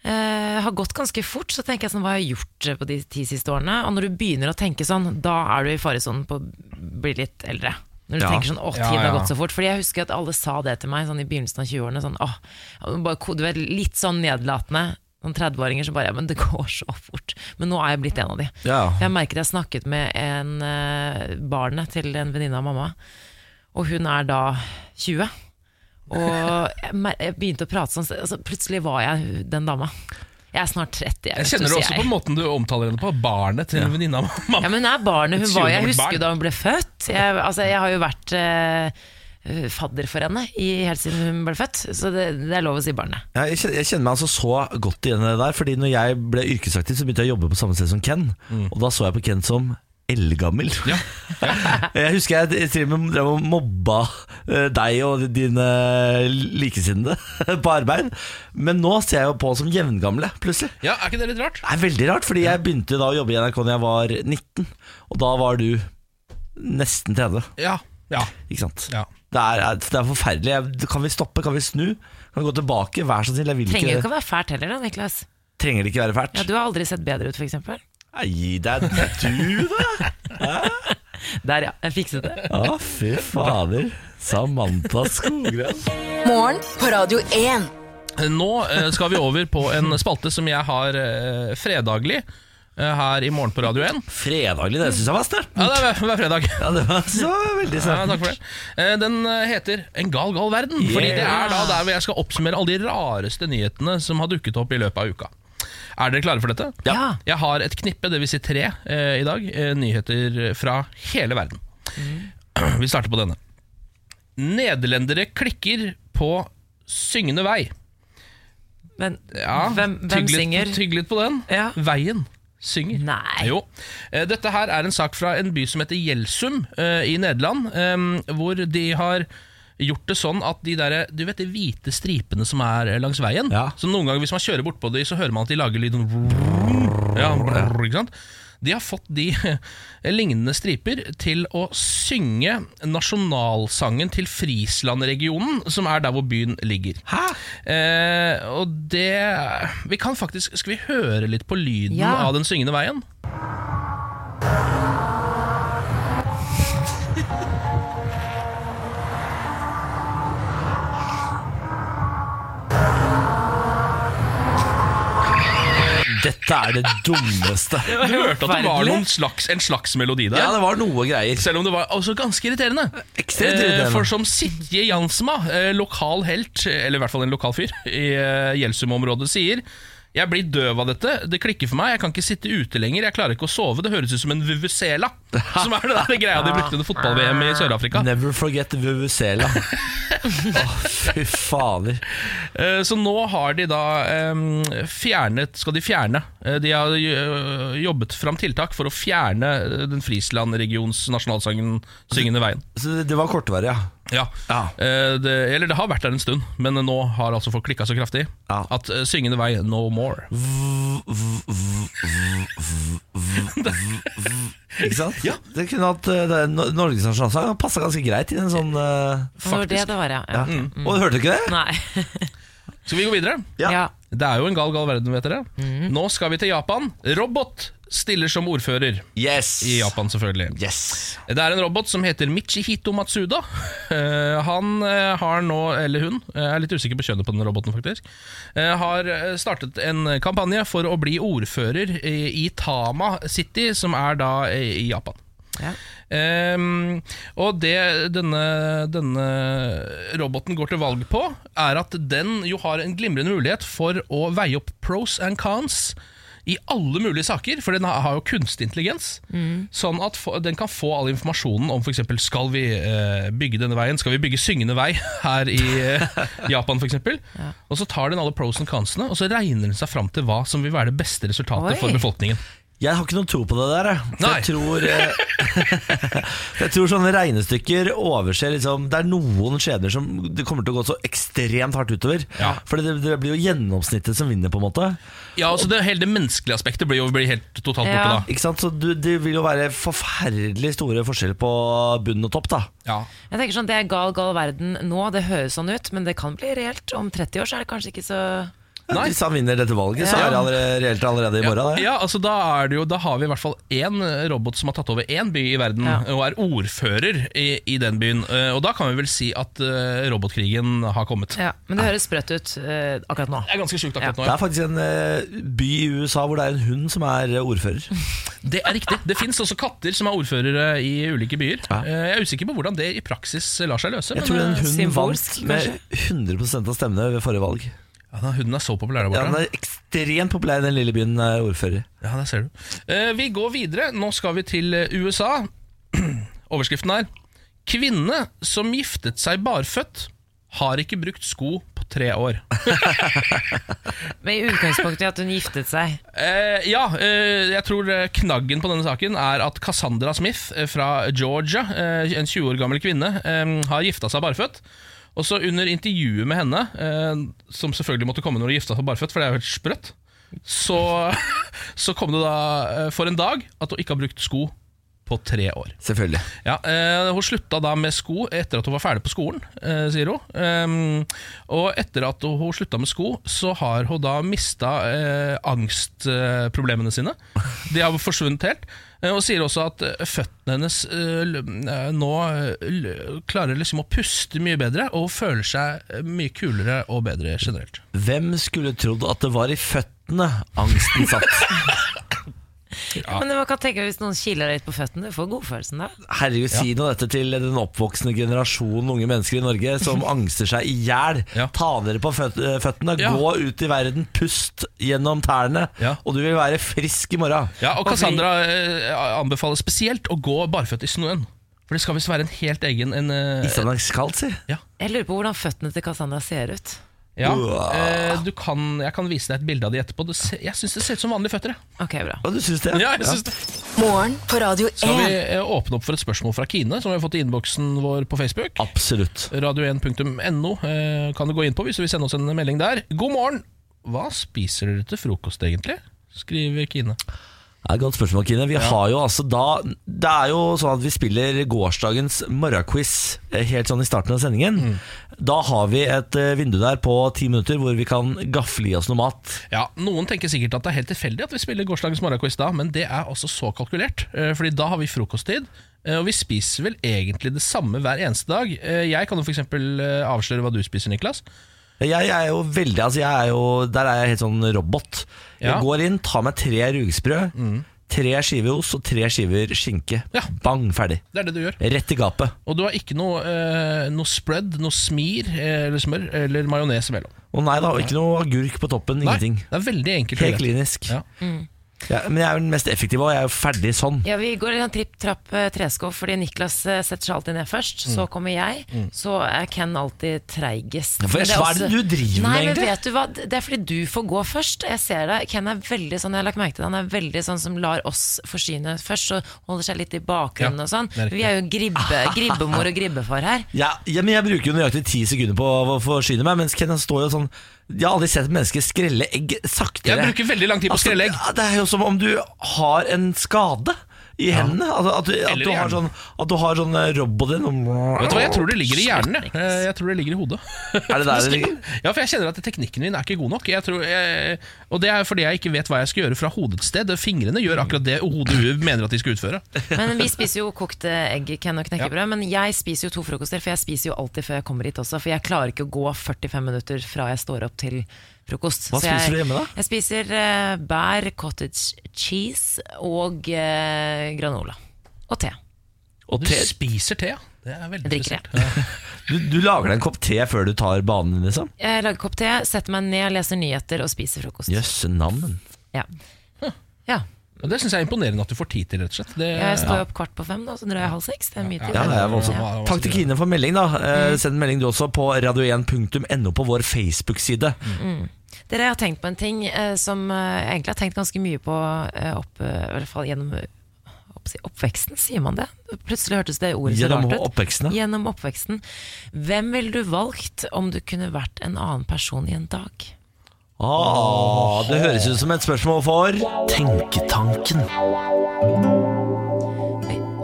Eh, har gått ganske fort, så tenker jeg sånn, hva har jeg gjort eh, på de ti siste årene? Og når du begynner å tenke sånn, da er du i faresonen på å bli litt eldre. Når du
Ja.
tenker sånn, åh,
Ja,
tiden har
ja.
gått så fort. Fordi jeg husker at alle sa det til meg sånn i begynnelsen av 20-årene. Sånn, åh, bare, ko- du er litt sånn nedlatende. Noen 30-åringer som bare, ja, men det går så fort. Men nå er jeg blitt en av de.
Ja.
Jeg merket jeg snakket med en eh, barnet til en venninne av mamma, og hun er da 20. Og
*laughs*
jeg, mer- jeg begynte å prate sånn, så- altså, plutselig var jeg den dama. Jeg er snart 30.
Jeg
vet du,
kjenner det
sier
også
jeg.
på måten du omtaler henne på. Barnet til en venninne av
Ja,
mamma.
men det er barnet hun
Et
var. Jeg
20-årig
husker
barn.
jo da hun ble født. Jeg, altså, jeg har jo vært eh, fadder for henne i, helt siden hun ble født, så det, det er lov å si barnet.
Ja, Jeg kjenner, jeg kjenner meg altså så godt igjen i det der, Fordi når jeg ble yrkesaktiv, så begynte jeg å jobbe på samme sted som Ken. Og da så jeg på Ken som eldgammel.
Mm. Ja.
*laughs* jeg husker jeg til og med drev og mobba eh, deg og dine likesinnede *laughs* på arbeid. Men nå ser jeg jo på som jevngamle, plutselig.
Ja, er ikke det litt rart?
Det er veldig rart, fordi jeg begynte da å jobbe i NRK da jeg var 19, og da var du nesten 30.
Ja. Ja.
Ikke sant?
ja.
Det er, det er forferdelig. Jeg- Kan vi stoppe? Kan vi snu? Kan vi gå tilbake? Vær så snill, jeg vil
Trenger jo
ikke
ikke å være fælt heller da, Niklas.
Trenger det ikke være fælt?
Ja, du har aldri sett bedre ut, for eksempel.
Nei, Gi deg du, *laughs* da!
Der, ja. Jeg fikset det.
Å, Ah, fy fader. Samantha Skogran.
Morgen på Radio 1.
Nå eh, skal vi over på en spalte som jeg har eh, fredaglig eh, her i morgen på Radio 1.
Fredaglig, det syns jeg var sterkt.
Ja, det er hver- hver fredag.
Ja, det var så veldig
Ja,
sterkt.
takk for det. Eh, Den eh, heter En gal, gal verden. Fordi det er da der hvor jeg skal oppsummere alle de rareste nyhetene som har dukket opp i løpet av uka. Er dere klare for dette?
Ja.
Jeg har et knippe, dvs. Si tre eh, i dag, eh, nyheter fra hele verden. *clears throat* Vi starter på denne. Nederlendere klikker på syngende vei.
Men
Ja,
hvem, hvem
tygg litt-
synger?
Tygg litt på den.
Ja.
Veien synger.
Nei.
Jo. Eh, Dette her er en sak fra en by som heter Gjelsum eh, i Nederland, eh, hvor de har gjort det sånn at de der, du vet de hvite stripene som er eh, langs veien
Ja.
Så noen ganger hvis man kjører bortpå de, så hører man at de lager lyd sånn ja, ikke sant? De har fått de *laughs* lignende striper til å synge nasjonalsangen til Frisland-regionen, som er der hvor byen ligger.
Hæ?
Eh, og det Vi kan faktisk Skal vi høre litt på lyden
Ja.
av den syngende veien?
Dette er det dummeste.
Du hørte at *laughs* det var
forferdelig.
noen slags, en slags melodi der?
Ja, det var noe greier.
Selv om det var også ganske irriterende.
Ekstremt irriterende.
Eh, For som Sitje Jansma, eh, lokal helt, eller i hvert fall en lokal fyr, i eh, Gjelsum-området sier Jeg blir døv av dette, det klikker for meg, jeg kan ikke sitte ute lenger, jeg klarer ikke å sove, det høres ut som en vuvuzela. Som er det der greia de brukte under fotball-VM i Sør-Afrika.
Never forget the
*laughs*
Vuvuzela. Å, fy fader.
Eh, Så nå har de da em, fjernet Skal de fjerne eh, De har eh, jobbet fram tiltak for å fjerne eh, den Frisland-regions nasjonalsangen Syngende veien.
Så det, det var kortvarig, ja.
Ja.
Ja.
Eh, Det, eller det har vært der en stund, men nå har altså folk klikka så kraftig
Ja.
at eh, Syngende vei no more.
Ikke sant? Ja. Det kunne hatt eh, det, Nor- Norges nasjonalsang passa ganske greit i en sånn eh,
Det var det det var, ja.
ja.
ja.
Mm.
Og hørte du ikke det?
Nei.
Skal vi gå videre?
Ja.
Ja.
Mhm.
Det er jo en gal, gal verden, vet dere. Nå skal vi til Japan. Robot stiller som ordfører
Yes!
i Japan, selvfølgelig.
Yes.
Det er en robot som heter Michihito Matsuda. *laughs* Eh, Han eh, har nå, eller hun, eh, jeg er litt usikker på kjønnet på den roboten faktisk, eh, har eh, startet en kampanje for å bli ordfører i i Tama City, som er da eh, i Japan.
Ja.
Ehm, og det denne, denne roboten går til valg på, er at den jo har en glimrende mulighet for å veie opp pros and cons i alle mulige saker, for den har- har jo kunstig intelligens.
Mm.
Sånn at få- den kan få all informasjonen om f.eks.: Skal vi eh, bygge denne veien? Skal vi bygge syngende vei *laughs* her i eh, Japan, f.eks.?
*laughs*
Og så tar den alle pros and consene, og så regner den seg fram til hva som vil være det beste resultatet
Oi.
for befolkningen.
Jeg har ikke noen tro på det der. Jeg, For
Nei.
jeg, tror, eh, *laughs* jeg tror sånne regnestykker overser liksom, Det er noen skjebner som det kommer til å gå så ekstremt hardt utover.
Ja.
For det, det blir jo gjennomsnittet som vinner, på en måte.
Ja, altså det, Hele det menneskelige aspektet blir jo blir helt totalt borte
Ja.
da.
Ikke sant? Så du, Det vil jo være forferdelig store forskjeller på bunn og topp. da
Ja.
Jeg tenker sånn, Det er gal, gal verden nå, det høres sånn ut, men det kan bli reelt. Om 30 år så er det kanskje ikke så
Nei.
Hvis han vinner dette valget, så
Ja.
er det allerede, reelt allerede i morgen. Det.
Ja, altså da, er det jo, da har vi i hvert fall én eh, robot som har tatt over én by i verden,
Ja.
og er ordfører i, i den byen. Eh, Og da kan vi vel si at eh, robotkrigen har kommet.
ja, Men det høres sprøtt ut eh, akkurat nå.
Det er ganske sjukt akkurat
Det
nå.
er faktisk en eh, by i USA hvor det er en hund som er eh, ordfører.
Ja. Det er riktig. Det fins også katter som er ordførere i ulike byer.
Ja.
Eh, Jeg er usikker på hvordan det i praksis lar seg løse.
Jeg tror den
eh,
hunden vant
symbolsk,
med 100 av stemmene ved forrige valg.
ja, da, Hunden er så populær der
Ja,
borte.
Den er ekstremt populær i den lille byen eh, ordfører.
Ja, der ser du. Eh, vi går videre. Nå skal vi til eh, USA. *clears throat* Overskriften er Kvinne som giftet seg barføtt, har ikke brukt sko på tre år.
Men i utgangspunktet i at hun giftet seg.
Eh, ja, eh, jeg tror eh, knaggen på denne saken er at Cassandra Smith eh, fra Georgia, eh, en 20 år gammel kvinne, eh, har gifta seg barføtt. Og så under intervjuet med henne, eh, som selvfølgelig måtte komme når hun gifta seg barføtt, for det er jo helt sprøtt, så, *laughs* så kom det da eh, for en dag at hun ikke har brukt sko på tre år.
Selvfølgelig.
Ja, eh, Hun slutta da med sko etter at hun var ferdig på skolen, eh, sier hun. Ehm, og etter at hun slutta med sko, så har hun da mista eh, angstproblemene sine. De har forsvunnet helt. Eh, og sier også at eh, føttene hennes eh, l- eh, nå eh, l- klarer liksom å puste mye bedre, og hun føler seg eh, mye kulere og bedre generelt.
Hvem skulle trodd at det var i føttene angsten
*laughs*
satt?
Men man kan tenke hvis noen kiler deg litt på føttene, du får godfølelsen da.
Herregud, si nå dette til den oppvoksende generasjonen unge mennesker i Norge
*laughs*
som angster seg i hjel.
Ja.
Ta dere på føt eh, føttene,
Ja.
gå ut i verden, pust gjennom tærne,
Ja.
og du vil være frisk i morgen.
Ja, Og
Og fordi-
Cassandra eh, anbefaler spesielt å gå barføtt i snøen. For det skal visst være en helt egen en, eh,
Islandskalt, si.
Jeg lurer på hvordan føttene til Cassandra ser ut.
Ja,
Uah.
eh, du kan, Jeg kan vise deg et bilde av de etterpå. Det ser, jeg syns det ser ut som vanlige føtter. jeg.
Ok, bra.
Hva du syns det?
Ja, jeg synes det.
Morgen på Radio
Skal vi
1.
eh, åpne opp for et spørsmål fra Kine, som vi har fått i innboksen vår på Facebook?
Absolutt.
Radio1.no eh, kan du gå inn på hvis du vil sende oss en melding der. God morgen! Hva spiser dere til frokost, egentlig? Skriver Kine.
Det er et godt spørsmål, Kine. Vi har jo altså da Det er jo sånn at vi spiller gårsdagens morgenquiz eh, helt sånn i starten av sendingen.
Mm.
Da har vi et eh, vindu der på ti minutter hvor vi kan gafle i oss noe mat.
Ja, Noen tenker sikkert at det er helt tilfeldig at vi spiller gårsdagens morgenquiz da, men det er også så kalkulert. eh, Fordi da har vi frokosttid, eh, og vi spiser vel egentlig det samme hver eneste dag. Eh, Jeg kan jo f.eks. avsløre hva du spiser, Niklas.
Jeg er jo veldig altså jeg er jo, Der er jeg helt sånn robot. Jeg
Ja. Mm.
går inn, tar meg tre rugsprød, tre skiver ost og tre skiver skinke.
Ja.
Bang, ferdig.
Det er det du gjør.
Rett i gapet.
Og du har ikke noe, eh, noe spread, noe smir eh, eller smør eller majones mellom.
Å nei da, ikke noe agurk på toppen. Ingenting.
Nei, det er veldig enkelt.
Helt
og lett.
klinisk.
Ja.
Ja, men jeg er jo den mest effektive, og jeg er jo ferdig sånn.
Ja, Vi går i en tripp, trapp, eh, tresko, fordi Niklas eh, setter seg alltid ned først.
Mm.
Så kommer jeg, så er Ken alltid treigest.
Ja, for
Men
hva er det du driver med,
Nei,
egentlig?
Men vet du hva? Det er fordi du får gå først. Jeg ser det. Ken er veldig sånn, jeg har lagt merke til det, han er veldig sånn som lar oss forsyne først, og holder seg litt i bakgrunnen
Ja,
og sånn.
det er riktig.
Vi er jo
*laughs*
gribbe, gribbemor og gribbefar her.
Ja, ja, men jeg bruker jo nøyaktig ti sekunder på å forsyne meg, mens Kenan står jo sånn Jeg har aldri sett et menneske skrelle egg saktere.
Jeg bruker veldig lang tid på å skrelle egg.
Altså, ja, det er jo som om du har en skade. i hendene. Altså, at, du- at,
Eller
du
i
har sånn,
hjernen.
at du har sånn eh, robot din
Vet du hva, Jeg tror det ligger i hjernen. Jeg, Eh, jeg tror det ligger i hodet. *laughs*
Er det der det ligger?
Ja, for jeg kjenner at teknikken min er ikke god nok. Jeg tror, jeg, og det er fordi jeg ikke vet hva jeg skal gjøre fra hodets sted. Fingrene gjør akkurat det hodet mener at de skal utføre.
Men vi spiser jo kokte egg, Ken og knekkebrød. Men jeg spiser jo to frokoster, for jeg spiser jo alltid før jeg kommer hit også. For jeg klarer ikke å gå 45 minutter fra jeg står opp til frokost.
Hva
Så
spiser
jeg,
du hjemme da?
Jeg spiser eh, bær, cottage cheese og eh, granola. Og te.
Og
Du
te,
spiser te, ja. Det er veldig
Jeg drikker
interessant.
det.
du, du lager deg en kopp te før du tar banen, liksom?
Jeg lager kopp te, setter meg ned, leser nyheter og spiser frokost.
Jøsse nammen. *laughs*
Ja. ja.
Og Det syns jeg er imponerende at du får tid til, rett og slett. Det,
Jeg står jo opp kvart på fem, da, så drar jeg halv seks. Det er mye tid.
Ja, det er voldsomt.
Ja, Mm. det var
Takk til Kine for melding, da. Eh, send melding du også på radio1.no på vår Facebook-side.
Dere har tenkt på en ting eh, som eh, jeg egentlig har tenkt ganske mye på eh, opp, eh, i hvert fall gjennom eh, opp, oppveksten, sier man det? Plutselig hørtes det ordet så
Gjennom
rart ut.
oppveksten, ja.
Gjennom oppveksten. Hvem ville du valgt om du kunne vært en annen person i en dag?
Ah, det høres ut som et spørsmål for Tenketanken.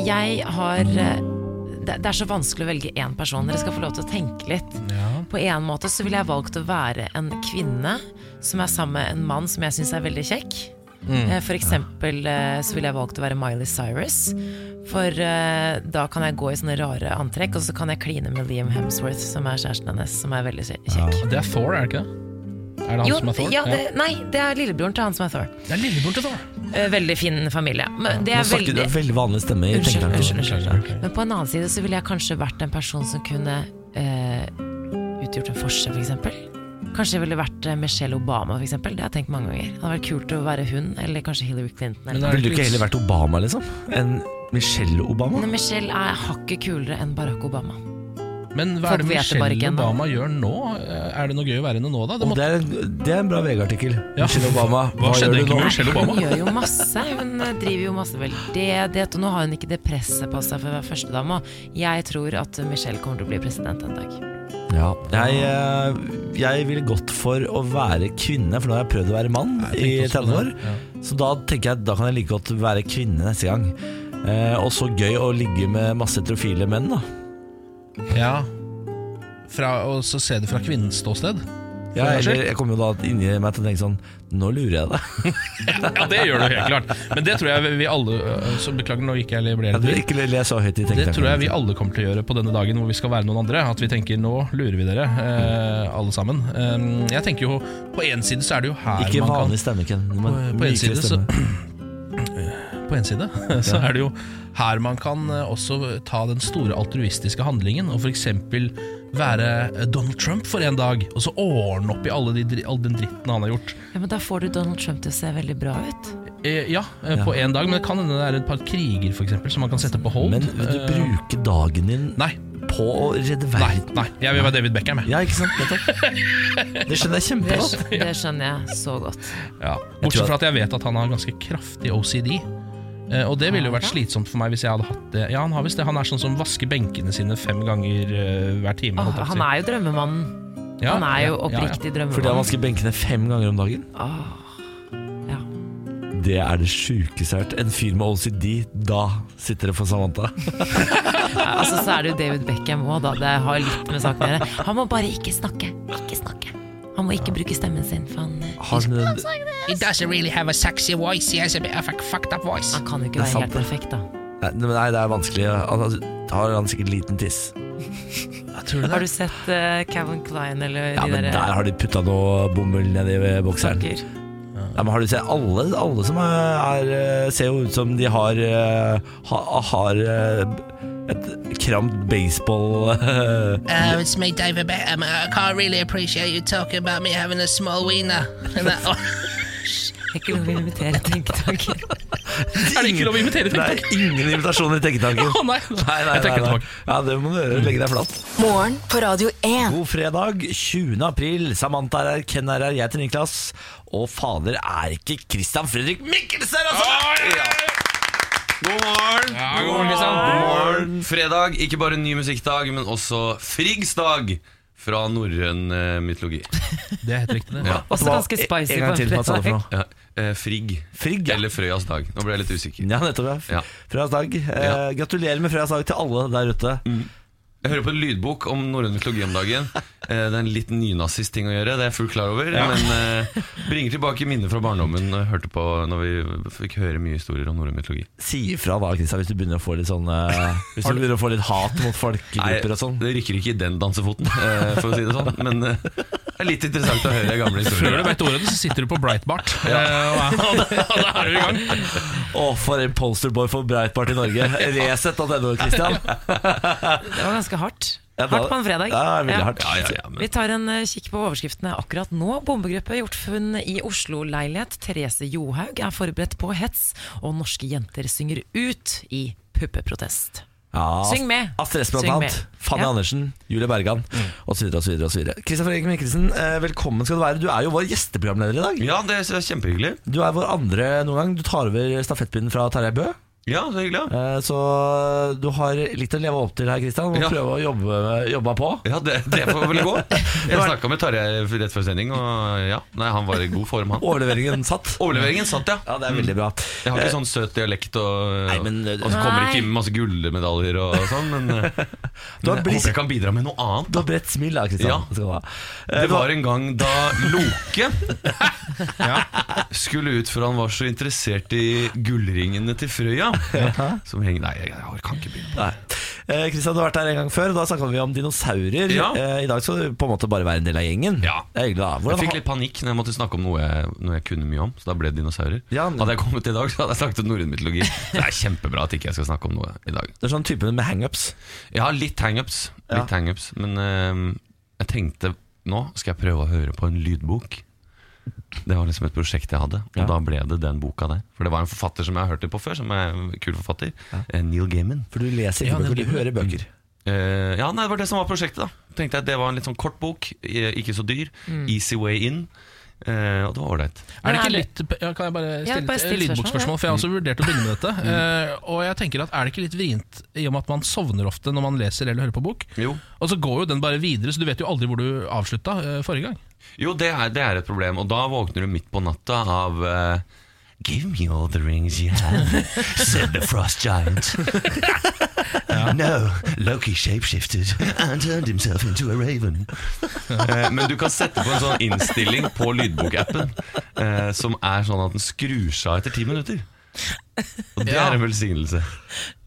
Jeg har eh, det, det er så vanskelig å velge én person. Dere skal få lov til å tenke litt. På en måte så ville jeg valgt å være en kvinne som er sammen med en mann som jeg syns er veldig kjekk.
Mm.
Eh, For eksempel eh, så ville jeg valgt å være Miley Cyrus. For eh, da kan jeg gå i sånne rare antrekk, og så kan jeg kline med Liam Hemsworth, som er kjæresten hennes, som er veldig kje- kjekk.
Det er Thor, er det ikke det? Er det han som er Thor?
ja, det, nei, det er lillebroren til han som er Thor.
Det er lillebroren til Thor.
Eh, Veldig fin familie. Men det
Nå
er
snakker du
veldig
en veldig vanlig stemme i
Unnskyld,
Tenketanken.
unnskyld, unnskyld. Men på en annen side så ville jeg kanskje vært en person som kunne eh, utgjort en forskjell, f.eks. eksempel Kanskje jeg ville vært eh, Michelle Obama, for eksempel Det har jeg tenkt mange ganger. Det hadde vært kult å være hun, eller kanskje Hillary Clinton. Eller.
Men eh,
Ville du ikke heller vært Obama, liksom? Enn Michelle Obama?
Men Michelle er hakket kulere enn Barack Obama.
Men hva
Folk
er det
vet det bare
Michelle
ikke ennå.
Obama gjør nå? Eh, Er det noe gøy å være henne nå, da? Det
Og
måtte...
det, er, det er en bra VG-artikkel.
Ja.
Michelle Obama,
Hva skjedde egentlig med
nå?
Michelle
Hun
Obama?
gjør jo masse. Hun eh, driver jo masse veldedighet, og nå har hun ikke det presset på seg for å være førstedame. og Jeg tror at Michelle kommer til å bli president en dag.
Ja. Jeg, eh, jeg ville gått for å være kvinne, for nå har jeg prøvd å være mann i
Jeg tenkte
30
også på
år.
det. Ja.
Så da tenker jeg at da kan jeg like godt være kvinne neste gang. Eh, og så gøy å ligge med masse heterofile menn, da.
Ja. Fra, og så se det fra kvinnens ståsted?
Ja,
For meg selv.
eller jeg kommer jo da inni meg til å tenke sånn Nå lurer jeg deg.
Ja, det gjør du helt klart. Men det tror jeg vi alle øh, så Beklager, nå gikk jeg litt
Ja,
bredere
du
til.
ikke le så høyt i
Det
tenketanken.
tror jeg vi alle kommer til å gjøre på denne dagen hvor vi skal være noen andre. At vi tenker 'nå lurer vi dere', eh, alle sammen. Eh, jeg tenker jo, På en side så er det jo her
Ikke
man kan
vanlig stemme, Ken. Men
På- på en
mykere
side så-
stemme.
på en side, *laughs* så er det jo her man kan eh, også ta den store altruistiske handlingen, og f.eks. være eh, Donald Trump for en dag, og så ordne opp i alle de, dri- all den dritten han har gjort.
Ja, men da får du Donald Trump til å se veldig bra ut.
*laughs* Eh, ja, eh, på en dag, men det kan hende det er et par kriger for eksempel, som man kan sette på hold.
Men vil du
Eh,
bruke dagen din
Nei,
på å redde
nei,
verden?
nei, jeg vil være David Beckham, jeg.
Ja, ikke sant? Nettopp. Det skjønner jeg
Det,
kjempegodt.
det skjønner jeg så godt.
Ja.
Jeg tror
Bortsett
at-
fra at jeg vet at han har ganske kraftig OCD. eh, Og det ville jo vært slitsomt for meg hvis jeg hadde hatt det. Ja, han har visst det. Han er sånn som vasker benkene sine fem ganger eh, hver time.
Åh,
holdt jeg på å si.
han er jo drømmemannen.
Ja,
han er jo
ja, ja, ja.
oppriktig
Fordi han
drømmemannen.
vasker benkene fem ganger om dagen.
ja.
Det er det sjukeste jeg har hørt. En fyr med OCD, da sitter det for Samantha.
Altså, så er det jo David Beckham òg, da. Det har litt med saken å gjøre. Han må bare ikke snakke. Ikke snakke. Han må ikke bruke stemmen sin, for han, eh,
Har den den
He doesn't really have a sexy voice. He has a bit of a fucked up voice.
han kan jo
Det er
ikke være
sant,
helt perfekt, da.
Nei, men nei, det er vanskelig. Han har- har han sikkert liten tiss.
Har du sett uh, Calvin Klein eller
Ja,
de eh,
men der
eh,
derre
har de putta noe bomull nedi ved bokseren.
saker?
Ja, men har du sett alle, alle som er, er ser jo ut som de har eh, ha, har eh, et kramt baseball eh,
Oh, it's me, David Beckham. um, I can't really appreciate you talking about me having a small wiener. And that-
Ikke lov å invitere tenketanken.
*laughs* Er det ikke lov å invitere til?
Nei, ingen invitasjon
*laughs*
i
*laughs*
tenketanken.
Å, Ah. nei.
Nei, nei, nei,
Jeg trekker det
nei.
tilbake.
Ja, det må du gjøre. Legge deg flat.
Morgen på Radio 1.
God fredag, 20. april. Samantha er her, Ken er her, jeg heter Niklas. Og fader, er ikke Christian Fredrik Mikkelsen her,
Ah!
altså!
God morgen!
liksom.
god morgen, Kristian.
God morgen. Fredag, ikke bare ny musikkdag, men også Friggs dag. fra norrøn eh, mytologi.
Det er helt riktig, det.
Ja.
Også
Hva-
ganske spicy.
En gang til, hva sa du for noe?
Ja. eh, Frigg.
Frigg, ja.
Eller Frøyas dag. Nå ble jeg litt usikker.
Ja, nettopp. Ja.
Ja.
Fredags dag. Eh,
Ja.
Gratulerer med fredags dag til alle der ute.
Jeg hører på en lydbok om norrøn mytologi om dagen. Eh, Det er en litt nynazist ting å gjøre, det er jeg fullt klar over. Men eh, bringer tilbake minner fra barndommen når, jeg hørte på, når vi fikk høre mye historier om norrøn mytologi.
Si ifra da, Kristian, hvis du begynner å få litt sånn eh,
*laughs*
Hvis du begynner å få litt hat mot folkegrupper og sånn.
det rykker ikke i den dansefoten, eh, for å si det sånn. Men eh, det er litt interessant å høre
Før
gamle
du
historier.
vet ordet, så sitter du på Breitbart. eh, *laughs* Og, og da er du i gang.
Å, for en posterboy for Breitbart i Norge. Resett.no, Kristian.
Det var ganske hardt.
Ja, da-
Hardt på en fredag.
Ja, veldig
Ja.
hardt.
Ja, ja, ja, men
Vi tar en eh, kikk på overskriftene akkurat nå. Bombegruppe gjort funn i Oslo-leilighet. Therese Johaug er forberedt på hets, og norske jenter synger ut i puppeprotest.
Ja,
Syng med.
Astrid S. blant
Syng
annet.
med.
Fanny
Ja. Mm.
Andersen, Julie Bergan osv. osv. Kristoffer Egil Mikkelsen, eh, velkommen skal du være. Du er jo vår gjesteprogramleder i dag.
Ja, det er kjempehyggelig.
Du er vår andre noen gang. Du tar over stafettpinnen fra Terje Bø.
Ja, så hyggelig. ja.
Eh, Så du har litt å leve opp til her, Kristian. Og
Ja.
prøve å jobbe, jobbe på.
Ja, det, det får vel
*laughs*
gå. Jeg snakka med Tarjei rett før sending, og ja, nei, han var i god form, han.
Overleveringen satt.
*laughs*
Overleveringen satt, ja.
Ja, det er veldig bra.
Jeg har ikke sånn søt dialekt og,
Nei, men- eh,
og så kommer
Nei.
ikke med masse gullmedaljer og sånn, men,
*laughs*
eh,
Du har
men jeg
blitt-
håper jeg kan bidra med noe annet.
Du har bredt smil da, Kristian.
Ja.
Det skal du ha. Eh,
Det
du har-
var en gang da Loke
*laughs*
skulle ut for han var så interessert i gullringene til Frøya. Som henger Nei, jeg, jeg kan ikke begynne.
Nei. Eh, Kristian, du har vært her en gang før. Da snakka vi om dinosaurer.
Ja.
Eh, I dag skal du på en måte bare være en del av gjengen.
Ja.
Det er hyggelig, da.
Jeg
Hvordan
fikk
har-
litt panikk når jeg måtte snakke om noe jeg, noe jeg kunne mye om, så da ble det dinosaurer.
Ja, men-
Hadde jeg kommet i dag, så hadde jeg snakket om norrøn mytologi. Så Det er kjempebra at ikke jeg skal snakke om noe i dag.
Det er sånn typen med hangups.
Jeg har litt hangups,
Ja.
litt hangups men ehm, jeg tenkte nå skal jeg prøve å høre på en lydbok. Det var liksom et prosjekt jeg hadde, og
Ja.
da ble det den boka der. For det var en forfatter som jeg har hørt det på før, som er en kul forfatter. eh, Neil Gaiman.
For du leser ikke
Ja,
bøker,
nemlig.
du hører bøker.
Eh, ja, nei, det var det som var prosjektet, da. Tenkte jeg at Det var en litt sånn kort bok, eh, ikke så dyr.
Mm.
Easy way in. eh, og det var
Er
ålreit.
det
Men
ikke
er
litt ja, Kan jeg bare
Ja,
stille
bare
et
still
eh, lydbokspørsmål? For jeg har også vurdert å begynne med dette. eh, og jeg tenker at Er det ikke litt vrient, i og med at man sovner ofte når man leser eller hører på bok?
Jo.
Og så går jo den bare videre, så du vet jo aldri hvor du avslutta eh, forrige gang.
Jo, det er, det er et problem, og da våkner du midt på natta av eh, Give me all the rings
*laughs*
you have, said the frost giant. No, Loki shapeshifted and turned himself into a raven. Eh, Men du kan sette på en sånn innstilling på lydbokappen eh, som er sånn at den skrur seg av etter ti minutter. Og det
Ja.
er en velsignelse.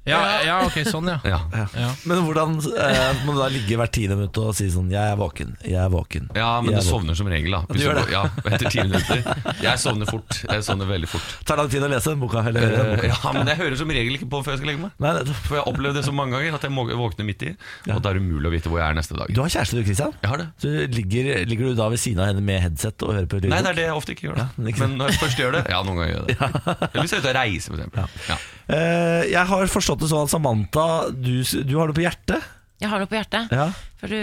Ja, ja ok, sånn ja.
Ja.
Ja.
Men hvordan eh, må du da ligge hvert tiende minutt og si sånn Jeg er våken, jeg er våken.
Ja, men
jeg er våken».
du sovner som regel, da.
Du gjør det.
Ja, etter ti minutter. Jeg sovner fort. Jeg sovner veldig fort.
Tar lang tid å lese den boka. Eller, høre den
Eh,
boka.
Ja, men jeg hører som regel ikke på før jeg skal legge meg.
Nei, nettopp.
For jeg har opplevd det så mange ganger at jeg må- våkner midt i, og da er det umulig å vite hvor jeg er neste dag.
du har kjæreste du, Kristian?
Jeg har det.
Så ligger, ligger du da ved siden av henne med headset og hører på lydbok?
Nei, det er det jeg ofte ikke gjør. Da.
Ja, ikke sant.
Men når jeg først gjør det *laughs* Ja, noen ganger gjør jeg det. Eller hvis jeg er ute og reiser, for eksempel. Ja.
Eh, jeg har forstått det sånn at Samantha, du, du har det på hjertet.
Jeg har noe på hjertet.
Ja.
For du,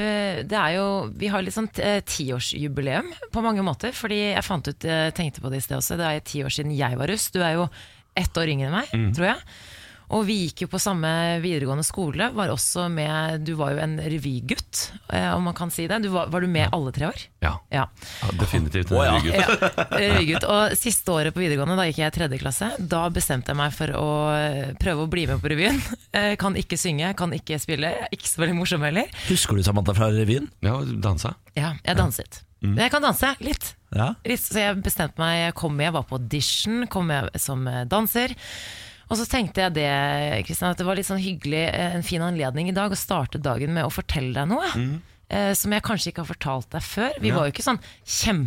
det er jo, vi har litt sånn eh, tiårsjubileum på mange måter. Fordi jeg fant ut, jeg tenkte på det i sted også, det er ti år siden jeg var russ. Du er jo ett år yngre enn meg, tror jeg. Og vi gikk jo på samme videregående skole. Var også med, du var jo en revygutt, eh, om man kan si det. Du var, var du med alle tre år?
Ja.
Ja.
ja, definitivt. en
Å, ja.
rygg ut.
Ja, Røygutt. Og siste året på videregående, da gikk jeg i tredje klasse, da bestemte jeg meg for å eh, prøve å bli med på revyen. *laughs* Eh, Kan ikke synge, kan ikke spille. Jeg er Ikke så veldig morsom heller.
Husker du Samantha fra revyen?
Ja, dansa.
Ja, jeg danset. Men jeg kan danse litt.
Ja.
litt. Så jeg bestemte meg, jeg kom med, jeg var på audition, kom med som eh, danser. Og så tenkte jeg det, Kristian, at det var litt sånn hyggelig, eh, en fin anledning i dag å starte dagen med å fortelle deg noe.
Mm.
eh, Som jeg kanskje ikke har fortalt deg før. Vi var jo ikke sånn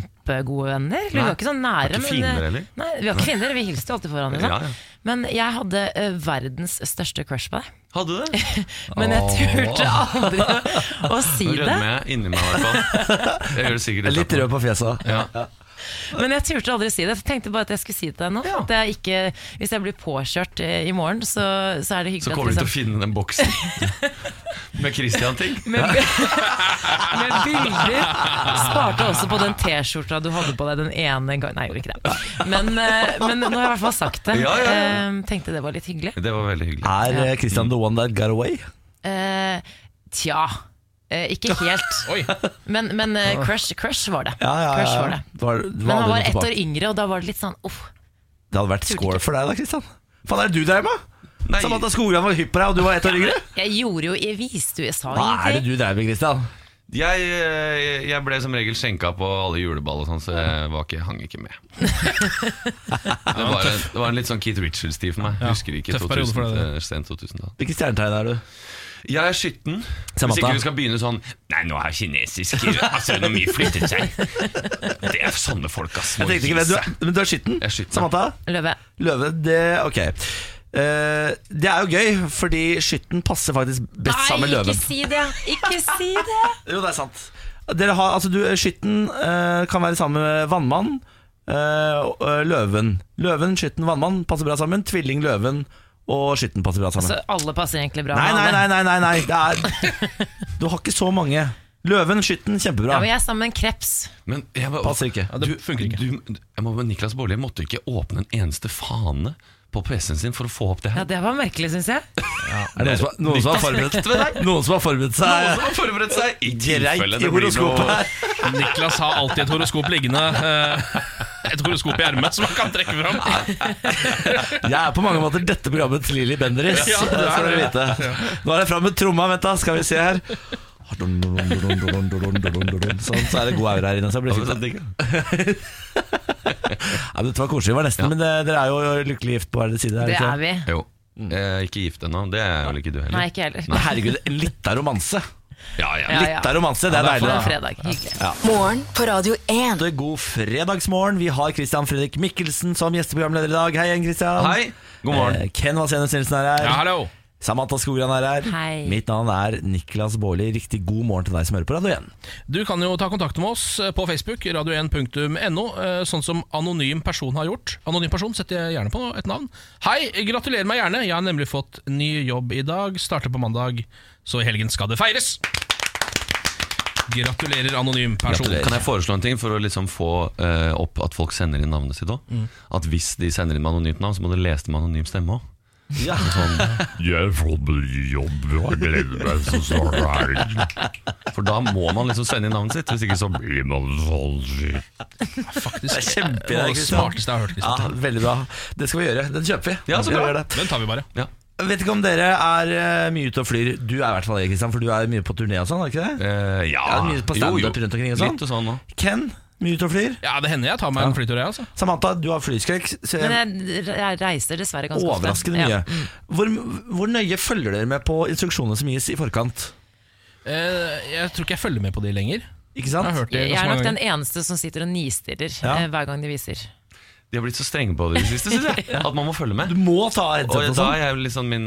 kjempegode venner. Vi
Nei.
var ikke sånn nære.
Vi var ikke
men, eh,
fiender heller.
Nei, vi var ikke fiender, vi hilste jo alltid for hverandre.
Ja,
da.
ja.
Men jeg hadde eh, verdens største crush på deg.
Hadde du det?
Men jeg turte aldri å si
Nå
det.
rødmer jeg inni meg, i hvert fall. *laughs* Jeg gjør det sikkert
Litt
etterpå.
rød på fjeset.
Ja.
Men jeg turte aldri å si det. Jeg tenkte bare at jeg skulle si det til deg nå. At jeg ikke, hvis jeg blir påkjørt eh, i morgen, så, så er det
Så
hyggelig
kommer
at
du
liksom-
til å finne den boksen *laughs* med Christian-ting.
med, *laughs* med bilder sparte også på den T-skjorta du hadde på deg den ene gangen. Nei, jeg gjorde ikke det. Men, eh, men nå har jeg i hvert fall sagt det.
Ja, ja, ja.
Eh, Tenkte det var litt hyggelig.
Det var veldig hyggelig.
Er eh, Christian the one that got away?
Eh, tja. Eh, Eh, ikke helt,
Oi.
men, men eh, crush, crush var det.
Ja, ja,
Crush
ja.
var det.
Det var- det var
Men han
aldri
var
noe
ett
tilbake.
år yngre, og da var det litt sånn uff.
Det hadde vært score for deg da, Kristian. Faen, er det du dreier med?
Nei.
Samantha Skogran var hypp på deg, og du var ett år yngre?
Jeg gjorde jo Jeg viste jo Jeg sa
Hva er det
ingenting.
du dreier med, Kristian?
Jeg, eh, jeg ble som regel skjenka på alle juleball og sånn, så jeg var ikke, hang ikke
*laughs*
med. Det var, en, det var en litt sånn Keith Richards-tid for meg.
Ja,
Husker ikke
tøff periode for
2000,
deg,
eh, sent 2000-tall.
Hvilket stjernetegn er du?
Jeg er skitten. Hvis
Samantha.
ikke du skal begynne sånn Nei, nå har kinesisk altså, astronomi flyttet seg. Det er sånne folk, ass.
Jeg tenkte ikke hvem du er, men du er skitten.
Jeg er skitten, ja.
Samantha?
Løve.
Løve, det Ok. Eh, det er jo gøy, fordi skytten passer faktisk best sammen med løven.
ikke si det! Ikke si det!
Jo, det er sant. Dere har, altså, du, skytten eh, kan være sammen med vannmannen. eh, og, eh, løven. Løven, skytten, vannmann passer bra sammen. Tvilling, løven og skytten passer bra sammen.
Altså,
Så alle passer egentlig bra.
Nei,
med
nei,
alle.
nei, nei, nei, nei. Det er, Du har ikke så mange Løven, skytten,
Ja,
kjempebra
men jeg er sammen med en kreps.
Men jeg var,
Passer ikke
Ja, det funker ikke.
Du, jeg må, Niklas Baarli måtte ikke åpne en eneste fane på PC-en sin for å få opp det
Ja,
her.
det var merkelig, syns jeg.
Er det noen som har- noen som har forberedt Noen som har forberedt
Noen
seg
som har forberedt seg i tilfelle
Greit i
det blir
horoskopet
noe
her
Niklas har alltid et horoskop liggende. eh, Et horoskop i ermet som han kan trekke fram.
Jeg er på mange måter dette programmet til Lili Bendriss
Ja,
Det
det er
skal dere
det.
vite Nå er det frem med tromma, vent da, skal vi se her Sånn, så er det god aura her inne Så jeg blir fint
sånn digg, da.
Nei, men Dette var koselig, det var nesten Men eh, dere er jo lykkelig gift på hver deres side
Det
ikke
er vi.
Jo. Jeg er ikke gift ennå. Det er vel ikke du heller.
Mm. Nei, ikke heller.
Men herregud, en litt av romanse
Ja, ja.
Ja,
Litt av romanse, det er
På
deilig da
en fredag. Hyggelig.
Morgen på Radio 1.
Det er God fredagsmorgen. Vi har Christian Fredrik Mikkelsen som gjesteprogramleder i dag. Hei igjen, Christian.
Hei, god morgen.
Eh, Ken Vasenus Nilsen er her.
Ja, hallo.
Samantha Skogran er her.
Hei.
Mitt navn er Niklas Baarli. Riktig god morgen til deg som hører på Radio 1.
Du kan jo ta kontakt med oss eh, på Facebook, radio1.no, eh, sånn som anonym person har gjort. Anonym person setter jeg gjerne på nå, et navn. Hei, gratulerer meg gjerne. Jeg har nemlig fått ny jobb i dag. Starter på mandag, så i helgen skal det feires. Gratulerer, anonym person.
Gratulerer.
Kan jeg foreslå en ting for å liksom få eh, opp at folk sender inn navnet sitt òg? At hvis de sender inn med anonymt navn, så må du lese det med anonym stemme òg.
Ja.
Jeg får bli jobb, og jeg gleder meg så snart For da må man liksom sende inn navnet sitt, hvis ikke så blir man sånn
Faktisk,
Det er kjempeidé,
det var det
Christian.
smarteste jeg har hørt.
*laughs* ja,
Christian.
Veldig bra. Det skal vi gjøre. Den kjøper vi.
Ja, så
Vi
bra.
gjør det.
Den tar vi bare.
Ja.
Jeg Vet ikke om dere er eh, mye ute og flyr. Du er i hvert fall det, Christian, for du er mye på turné og sånn, er det ikke det?
Eh, ja.
Ja, mye på
Jo, jo.
stand-up rundt omkring og sånn.
Litt og sånn òg.
Ken, mye ute og flyr.
Ja, Det hender jeg tar meg en flytur, jeg. altså
Samantha, du har flyskrekk. så jeg-
Men jeg re- reiser dessverre ganske ofte.
Overraskende mye.
Mm.
Hvor, hvor nøye følger dere med på instruksjonene som gis i forkant?
Eh, Jeg tror ikke jeg følger med på de lenger.
Ikke
Jeg har
sant?
hørt det
Jeg
ganske
er
mange
nok den
ganger.
eneste som sitter og nistirrer
Ja.
eh, hver gang de viser.
De har blitt så strenge på det i det siste, syns *laughs* jeg. At man må følge med.
Du må ta
Og
headset og
da
sånn.
er jeg jo litt sånn min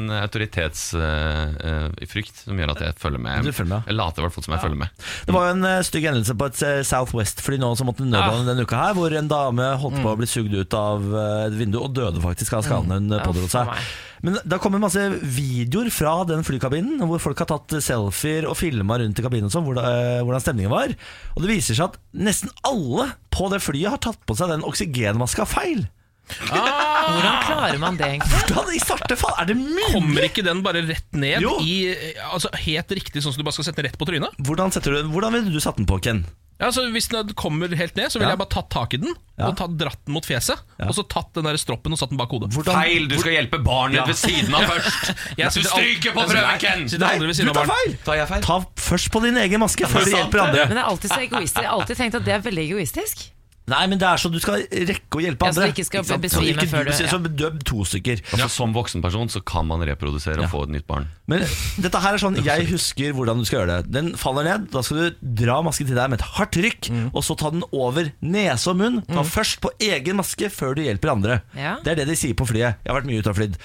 eh, autoritetsfrykt som gjør at jeg følger med.
Du følger med.
Jeg later i hvert fall som jeg følger med.
Det var jo en eh, stygg hendelse på et eh, Southwest-fly nå som måtte nødlande denne uka her, hvor en dame holdt på å bli sugd ut av eh, et vindu og døde faktisk av skadene hun eh,
Å,
pådro
for
seg.
meg.
Men da kommer masse videoer fra den flykabinen, hvor folk har tatt eh, selfier og filma rundt i kabinen og sånn, hvordan, eh, hvordan stemningen var. Og det viser seg at nesten alle på det flyet har tatt på seg den oksygenmaska feil.
Hvordan klarer man det, egentlig?
Hvordan i svarte faen er det mulig?
Kommer ikke den bare rett ned
Jo.
i eh, Altså helt riktig, sånn som du bare skal sette den rett på trynet?
Hvordan, setter du, hvordan ville du satt den på, Ken?
Ja, så Hvis den kommer helt ned, så ville
Ja.
jeg bare tatt tak i den
Ja.
og tatt, dratt den mot fjeset. Og så tatt den der stroppen og satt den bak hodet.
Hvordan,
Feil! Du skal hjelpe barnet ditt ved
*laughs*
siden av først!
Jeg
Du
sitter al-
stryker
altså,
på prøven, Ken!
Sitter
Nei,
aldri ved
du
siden av
tar
barn.
feil!
Tar jeg feil?
Ta først på din egen maske før du
sant,
hjelper andre.
Men det er alltid så egoistisk. Jeg har alltid tenkt at det er veldig egoistisk.
Nei, men det er så du skal rekke å hjelpe
Ja, så
andre.
du ikke skal
sant? Så
besvime
ikke
før du-
besvimer,
ja.
Så døp to stykker.
Altså, Som voksenperson så kan man reprodusere og få et nytt barn.
Men dette her er sånn jeg husker hvordan du skal gjøre det. Den faller ned, da skal du dra masken til deg med et hardt rykk, og så ta den over nese og munn. Ta først på egen maske før du hjelper andre.
Ja.
Det er det de sier på flyet. Jeg har vært mye ute og flydd.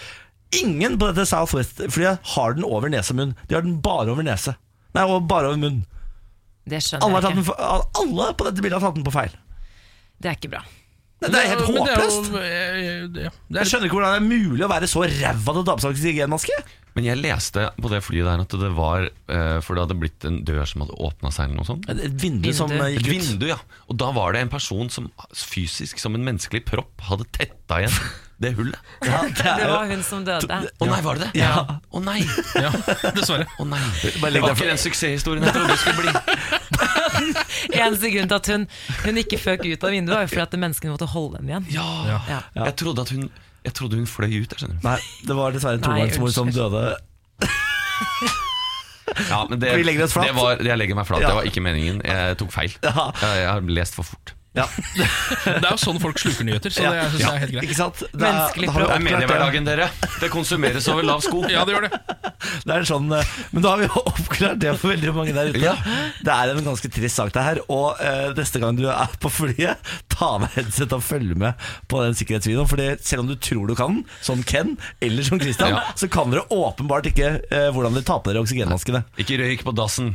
Ingen på dette Southwest-flyet har den over nese og munn. De har den bare over nese. Nei, og bare over munn.
Det
Alle,
skjønner
har tatt
jeg
den,
ikke.
for- alle på dette bildet har tatt den på feil.
Det er ikke bra.
Det er helt
Men det er jo-
håpløst.
eh, ja, det er
Jeg skjønner ikke hvordan det er mulig å være så ræva til å ta på seg oksygenmaske.
Men jeg leste på det flyet der at det var eh, For det hadde blitt en dør som hadde åpna seg, eller noe sånt.
Et vindu som
Vindu.
eh, gikk
Et
ut. *laughs*
vindu, ja. Og da var det en person som fysisk, som en menneskelig propp, hadde tetta igjen det hullet?
*laughs*
Ja, det er
Det
jo
var hun som døde.
Å nei, var det det?
Ja.
Å nei! Å
Ja, dessverre.
nei.
Bare legg
Det
deg
var ikke
for-
den suksesshistorien jeg trodde det skulle bli.
Eneste grunn til at hun, hun ikke føk ut av vinduet, var jo fordi at menneskene måtte holde henne igjen.
*laughs* Ja.
Ja.
Jeg trodde at hun Jeg trodde hun fløy ut. Jeg skjønner
Nei, det var dessverre en
Nei,
togangsmor som døde.
Ja, men det,
Vi legger oss flat.
Det var, jeg legger meg flat.
Ja.
Det var ikke meningen. Jeg tok feil.
Ja.
Jeg, jeg har lest for fort.
*laughs*
Ja,
Det er jo sånn folk sluker nyheter, så det er, synes jeg er helt greit.
Ikke sant? Det
Menneskelig
da har vi
Det er
oppklart
mediehverdagen, dere. Det konsumeres over lav sko.
Ja, det gjør det.
Det er en sånn, eh, men da har vi *laughs* jo oppklart det for veldig mange der ute.
Ja.
Det er en ganske trist sak, det her. Og eh, neste gang du er på flyet, ta med headset og følg med på den sikkerhetsvideoen. For det- selv om du tror du kan den, som Ken eller som Christian,
Ja.
så kan dere åpenbart ikke eh, hvordan dere tar på dere oksygenmaskene.
Ikke røyk på dassen.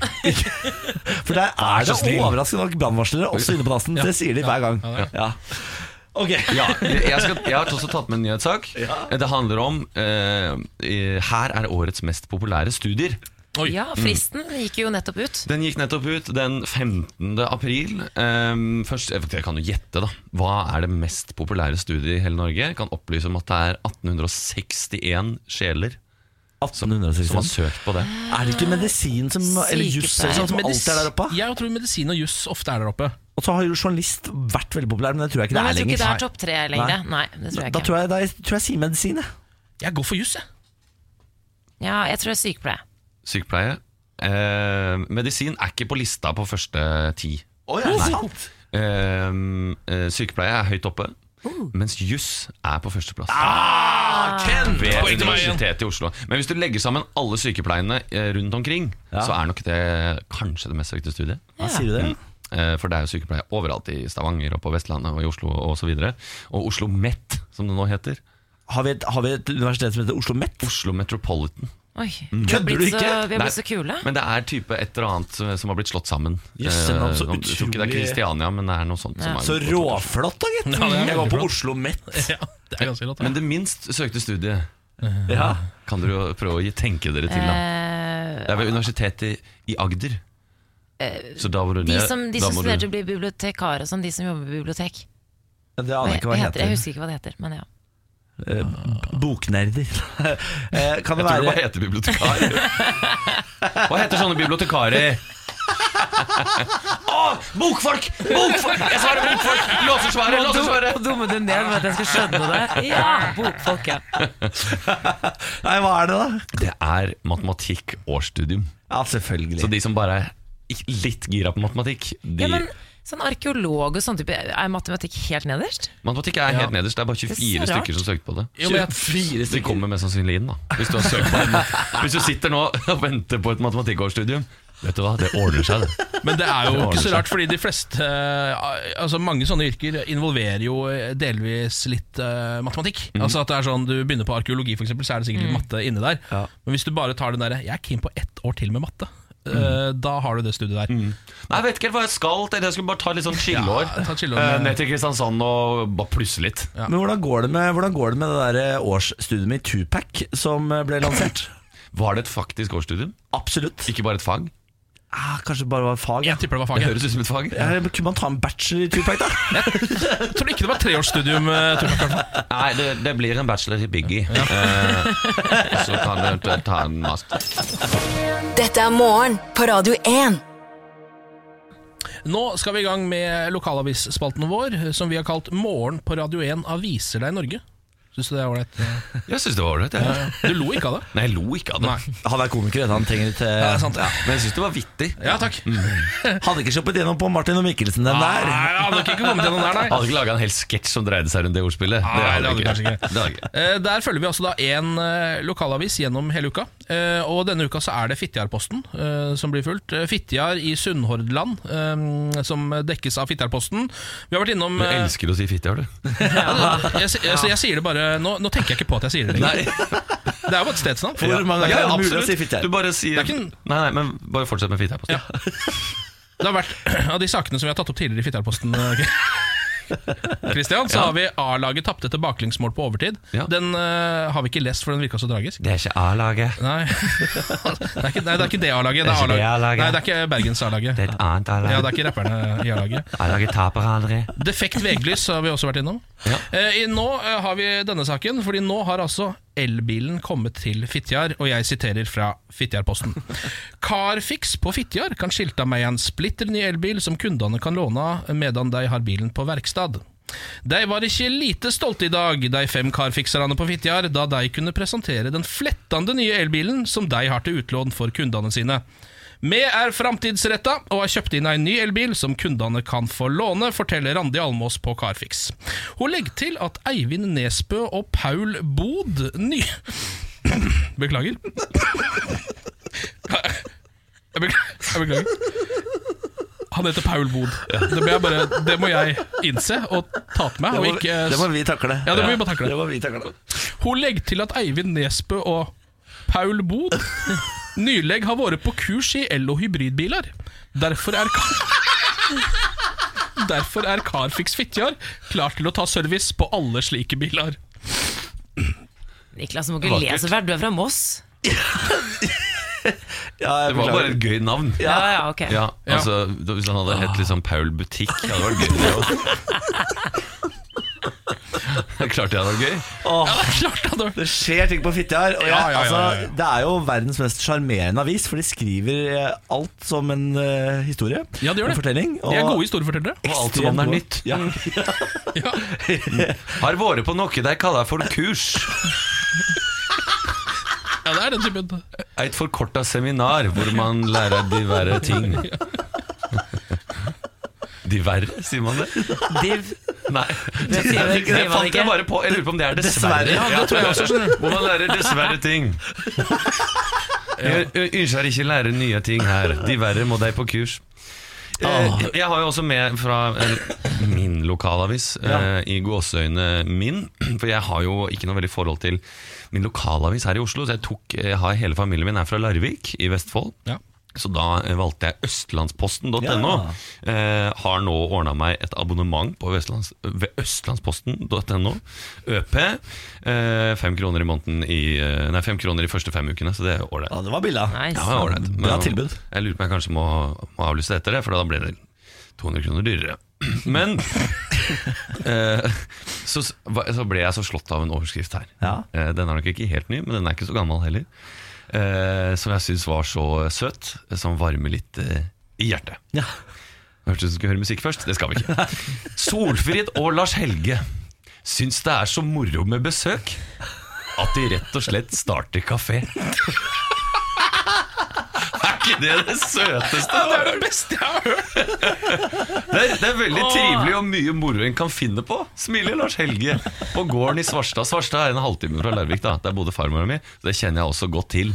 For der
Vær
er
så
det
snill.
overraskende nok brannvarslere også inne på dassen. Det sier de hver gang.
Ja.
Ja. Ok.
Ja, jeg, skal, jeg har også tatt med en nyhetssak. Det handler om eh, eh, Her er årets mest populære studier.
Oi.
Ja, fristen gikk jo nettopp ut.
Den gikk nettopp ut den 15. april. Ehm, først, jeg vet ikke, jeg kan jo gjette, da. Hva er det mest populære studiet i hele Norge? Jeg kan opplyse om at det er 1861 sjeler som har
1865.
søkt på det.
Er det ikke medisin som, eller juss eller sånn, som alltid er der oppe?
Jeg tror medisin og juss ofte er der oppe.
Og så har jo journalist vært veldig populær, men det tror jeg ikke
Nei,
det er
jeg tror ikke
lenger.
det er topp tre lenger. Nei, det tror jeg
Da
ikke.
tror jeg, da tror jeg sier medisin, jeg.
Jeg går for juss, jeg.
Ja, jeg tror det er sykepleie.
Sykepleie. Ehm, medisin er ikke på lista på første ti.
Oh, ja, sant?
Ehm, eh, sykepleie er høyt oppe,
Oh.
mens juss er på førsteplass.
Ah, Ken!
ved
Poeng til meg igjen.
Universitetet i Oslo. Men hvis du legger sammen alle sykepleiene eh, rundt omkring, så er nok det kanskje det mest søkte studiet.
Ja, sier du det?
Eh, For det er jo sykepleie overalt i Stavanger og på Vestlandet og i Oslo og så videre. Og Oslo Met, som det nå heter.
Har vi, et, har vi et universitet som heter Oslo Met?
Oslo Metropolitan.
Oi, vi har
Kødder
blitt
du
så,
ikke?
vi har
Nei,
blitt så kule.
Men det er type et eller annet eh, som har blitt slått sammen.
Jøss,
Eh,
navn, så
jeg tror ikke det er
utrolig-
Kristiania, men det er noe sånt. Som
Ja.
er-
Så råflott, da, gitt.
Ja, det er
Jeg går
veldig
på
flott.
Oslo Met.
Ja, det er ganske rått.
Men det minst søkte studiet
Ja.
kan dere jo prøve å gi- tenke dere til. Da.
Eh,
Det er ved Universitetet i Agder. Så da må du
de
ned.
som, de
da
som
må du-
studerer til å bli bibliotekar og sånn, de som jobber i bibliotek.
Det aner jeg ikke hva det
Hva heter det? Jeg
heter.
husker ikke hva det heter, men ja.
Eh, Boknerder. *laughs* Eh, Kan det
Jeg tror det
være
bare heter
*laughs*
bibliotekar. Hva heter sånne bibliotekarer? Å, bokfolk! Bokfolk! Jeg svarer bokfolk! Låsesvaret! Låsesvaret!
Nå dumme du ned med at jeg skal skjønne det. *laughs* Ja, bokfolk, ja.
*laughs* Nei, hva er det, da?
Det er matematikk årsstudium.
Ja, selvfølgelig.
Så de som bare er ikk- litt gira på matematikk, de
ja men, sånn arkeolog og sånn type, er matematikk helt nederst?
Matematikk er helt nederst. Det er bare
Det er
24
så rart.
stykker som søkte på det.
Jo, men
24
jeg-
De kommer mest sannsynlig inn, da. Hvis du, har søkt
*laughs*
på det. Hvis du sitter nå og venter på et matematikkårsstudium, vet du hva, det ordner seg, det.
Men det er
Det
jo
ordner
ikke så
seg.
rart, fordi de fleste eh, Altså mange sånne yrker involverer jo eh, delvis litt eh, matematikk.
Mhm.
Altså at det er sånn Du begynner på arkeologi, for eksempel, så er det sikkert litt matte inne der.
Ja.
Men hvis du bare tar den derre 'jeg er keen på ett år til med matte', eh,
Mhm.
da har du det studiet der.
Nei, jeg vet ikke helt hva jeg skal til. Jeg skulle bare ta litt sånn chilleår.
Ja, ta et chilleår.
Eh, Ned til Kristiansand og bare plusse litt.
Men hvordan går det med, hvordan går det, med det der eh, årsstudiet med Tupac som eh, ble
*laughs*
lansert?
Var det et faktisk årsstudium?
Absolutt.
Ikke bare et fag?
Ah, kanskje det bare var fag. Ja.
Jeg tipper det var
Det
faget.
høres ut som et fag.
Ja, men Kunne man ta en bachelor i Tupac,
*laughs*
da?
Jeg tror ikke det var treårsstudium. eh, tror jeg, kanskje.
Nei, det, det blir en bachelor i Biggie. Eh, og så kan du eventuelt ta en master.
Dette er morgen på Radio 1.
Nå skal vi i gang med lokalavisspalten vår, som vi har kalt 'Morgen på Radio 1 aviser deg Norge'. Syns du det er ålreit?
Jeg syns det var ålreit. jeg.
Du lo ikke av det?
Nei, jeg lo ikke av det.
Han er komiker, vet du. han trenger litt eh,
Ja, det er sant.
Men jeg syns det var vittig.
Ja, takk.
Hadde ikke sluppet gjennom på Martin og Mikkelsen den
Nei,
der.
jeg hadde nok ikke kommet gjennom der, nei.
Jeg hadde ikke laga en hel sketsj som dreide seg rundt det ordspillet.
Nei, det hadde du kanskje ikke.
Det hadde jeg ikke.
Eh, Der følger vi altså da én eh, lokalavis gjennom hele uka. Eh, Og denne uka så er det Fitjarposten eh, som blir fulgt. Eh, Fitjar i Sunnhordland, eh, som dekkes av Fitjarposten. Vi har vært innom
Du
eh,
elsker å si fitte, har du?
*laughs* jeg, si- altså, jeg sier det bare nå, nå tenker jeg ikke på at jeg sier det lenger.
Nei,
*laughs* Det er jo bare et stedsnavn.
Hvor mange ganger
ja,
er det mulig å si
absolutt.
fitte?
Du bare sier
Det er ikke en-
Nei, nei, men bare fortsett med fitte her. på stedet.
*clears throat* Det har vært av de sakene som vi har tatt opp tidligere i Fitjarposten. eh, Christian, så har vi A-laget tapte etter baklengsmål på overtid.
Ja.
Den eh, har vi ikke lest, for den virka så tragisk.
Det er ikke A-laget.
Nei. *laughs* det er ikke, nei, det er ikke det A-laget. Det
Det
er
er ikke
A-laget.
det A-laget.
Nei, det er ikke Bergens A-laget.
Det er et annet A-lag.
Ja, det er ikke rapperne i A-laget.
*laughs* A-laget taper aldri.
Defekt veglys har vi også vært innom.
Ja.
Eh, i- nå eh, har vi denne saken, fordi nå har altså elbilen kommet til Fitjar, og jeg siterer fra Fitjarposten. Carfix på Fitjar kan skilte av meg en splitter ny elbil som kundene kan låne av, medan de har bilen på verkstad. De var ikke lite stolte i dag, de fem carfixerne på Fitjar, da de kunne presentere den flettende nye elbilen som de har til utlån for kundene sine. Vi er framtidsretta og har kjøpt inn en ny elbil som kundene kan få låne, forteller Randi Almås på Carfix. Hun legger til at Eivind Nesbø og Paul Bod ny... *coughs* Beklager. Jeg beklager. Jeg beklager. Han heter Paul Bod. Det, må jeg bare, det må jeg innse og ta til meg.
Det
Og
må,
ikke,
det må vi takle.
Ja, det må vi bare takle.
Det må vi takle.
hun legger til at Eivind Nesbø og Paul Bod nylig har vært på kurs i el- og hybridbiler. Derfor er Car... Derfor er Carfix Fitjar klar til å ta service på alle slike biler.
Niklas, du må ikke le så fælt. Du er fra Moss.
Ja, jeg
Det var
beklager.
bare et gøy navn.
Ja, ja, ok.
Ja, altså da- Hvis han hadde hett liksom Paul Butikk, det hadde vært gøy. Det også. *laughs* Klart det hadde vært gøy.
Ja, det er klart han har-
Det skjer ting på Fitjar. Og jeg,
Ja, ja, ja, ja, ja.
Altså, det er jo verdens mest sjarmerende avis, for de skriver eh, alt som en eh, historie.
Ja, det gjør
En
det.
fortelling.
De er gode historiefortellere.
Og alt som om det er nytt.
*laughs* Ja.
Ja.
Har vært på noe de kaller for kurs.
ja, det er den typen.
Et forkorta seminar hvor man lærer diverre ting. *laughs* Diverre, sier man det?
Div.
*laughs* Nei.
Det sier man ikke.
Jeg fant det bare på. Jeg lurer på om det er dessverre.
Dessverre, ja,
det tror jeg også, skjønner
Hvor man lærer dessverre ting. Jeg jeg ønsker ikke lære nye ting her. Diverre må de på kurs. Eh, Jeg har jo også med fra eh, min lokalavis, eh, i gåseøyne min. *clears throat* For jeg har jo ikke noe veldig forhold til min lokalavis her i Oslo. Så jeg tok, eh, jeg har hele familien min er fra Larvik i Vestfold.
Ja.
Så da eh, valgte jeg østlandsposten.no.
Ja.
Eh, har nå ordna meg et abonnement på Vestlands, ved østlandsposten.no. ØP. Eh, fem kroner i måneden i eh, Nei, fem kroner de første fem ukene, så det er ålreit.
ja, det var billa.
Nice.
Ja, det er ålreit. Men
Bra tilbud.
Jeg lurer på om jeg kanskje må, må avlyse det etter det, for da blir det 200 kroner dyrere. *clears throat* Men eh, så, så ble jeg så slått av en overskrift her.
Ja.
Eh, den er nok ikke helt ny, men den er ikke så gammel heller. Eh, som jeg syns var så søt, som varmer litt eh, i hjertet.
Ja.
Hørtes ut som vi skulle høre musikk først. Det skal vi ikke. Solfrid og Lars Helge syns det er så moro med besøk at de rett og slett starter kafé. Er ikke det det søteste?
Det er det beste jeg har hørt!
Det er, det er veldig trivelig og mye moro en kan finne på, smiler Lars Helge på gården i Svarstad. Svarstad er en halvtime fra Larvik, da. der bodde farmora mi. så Det kjenner jeg også godt til.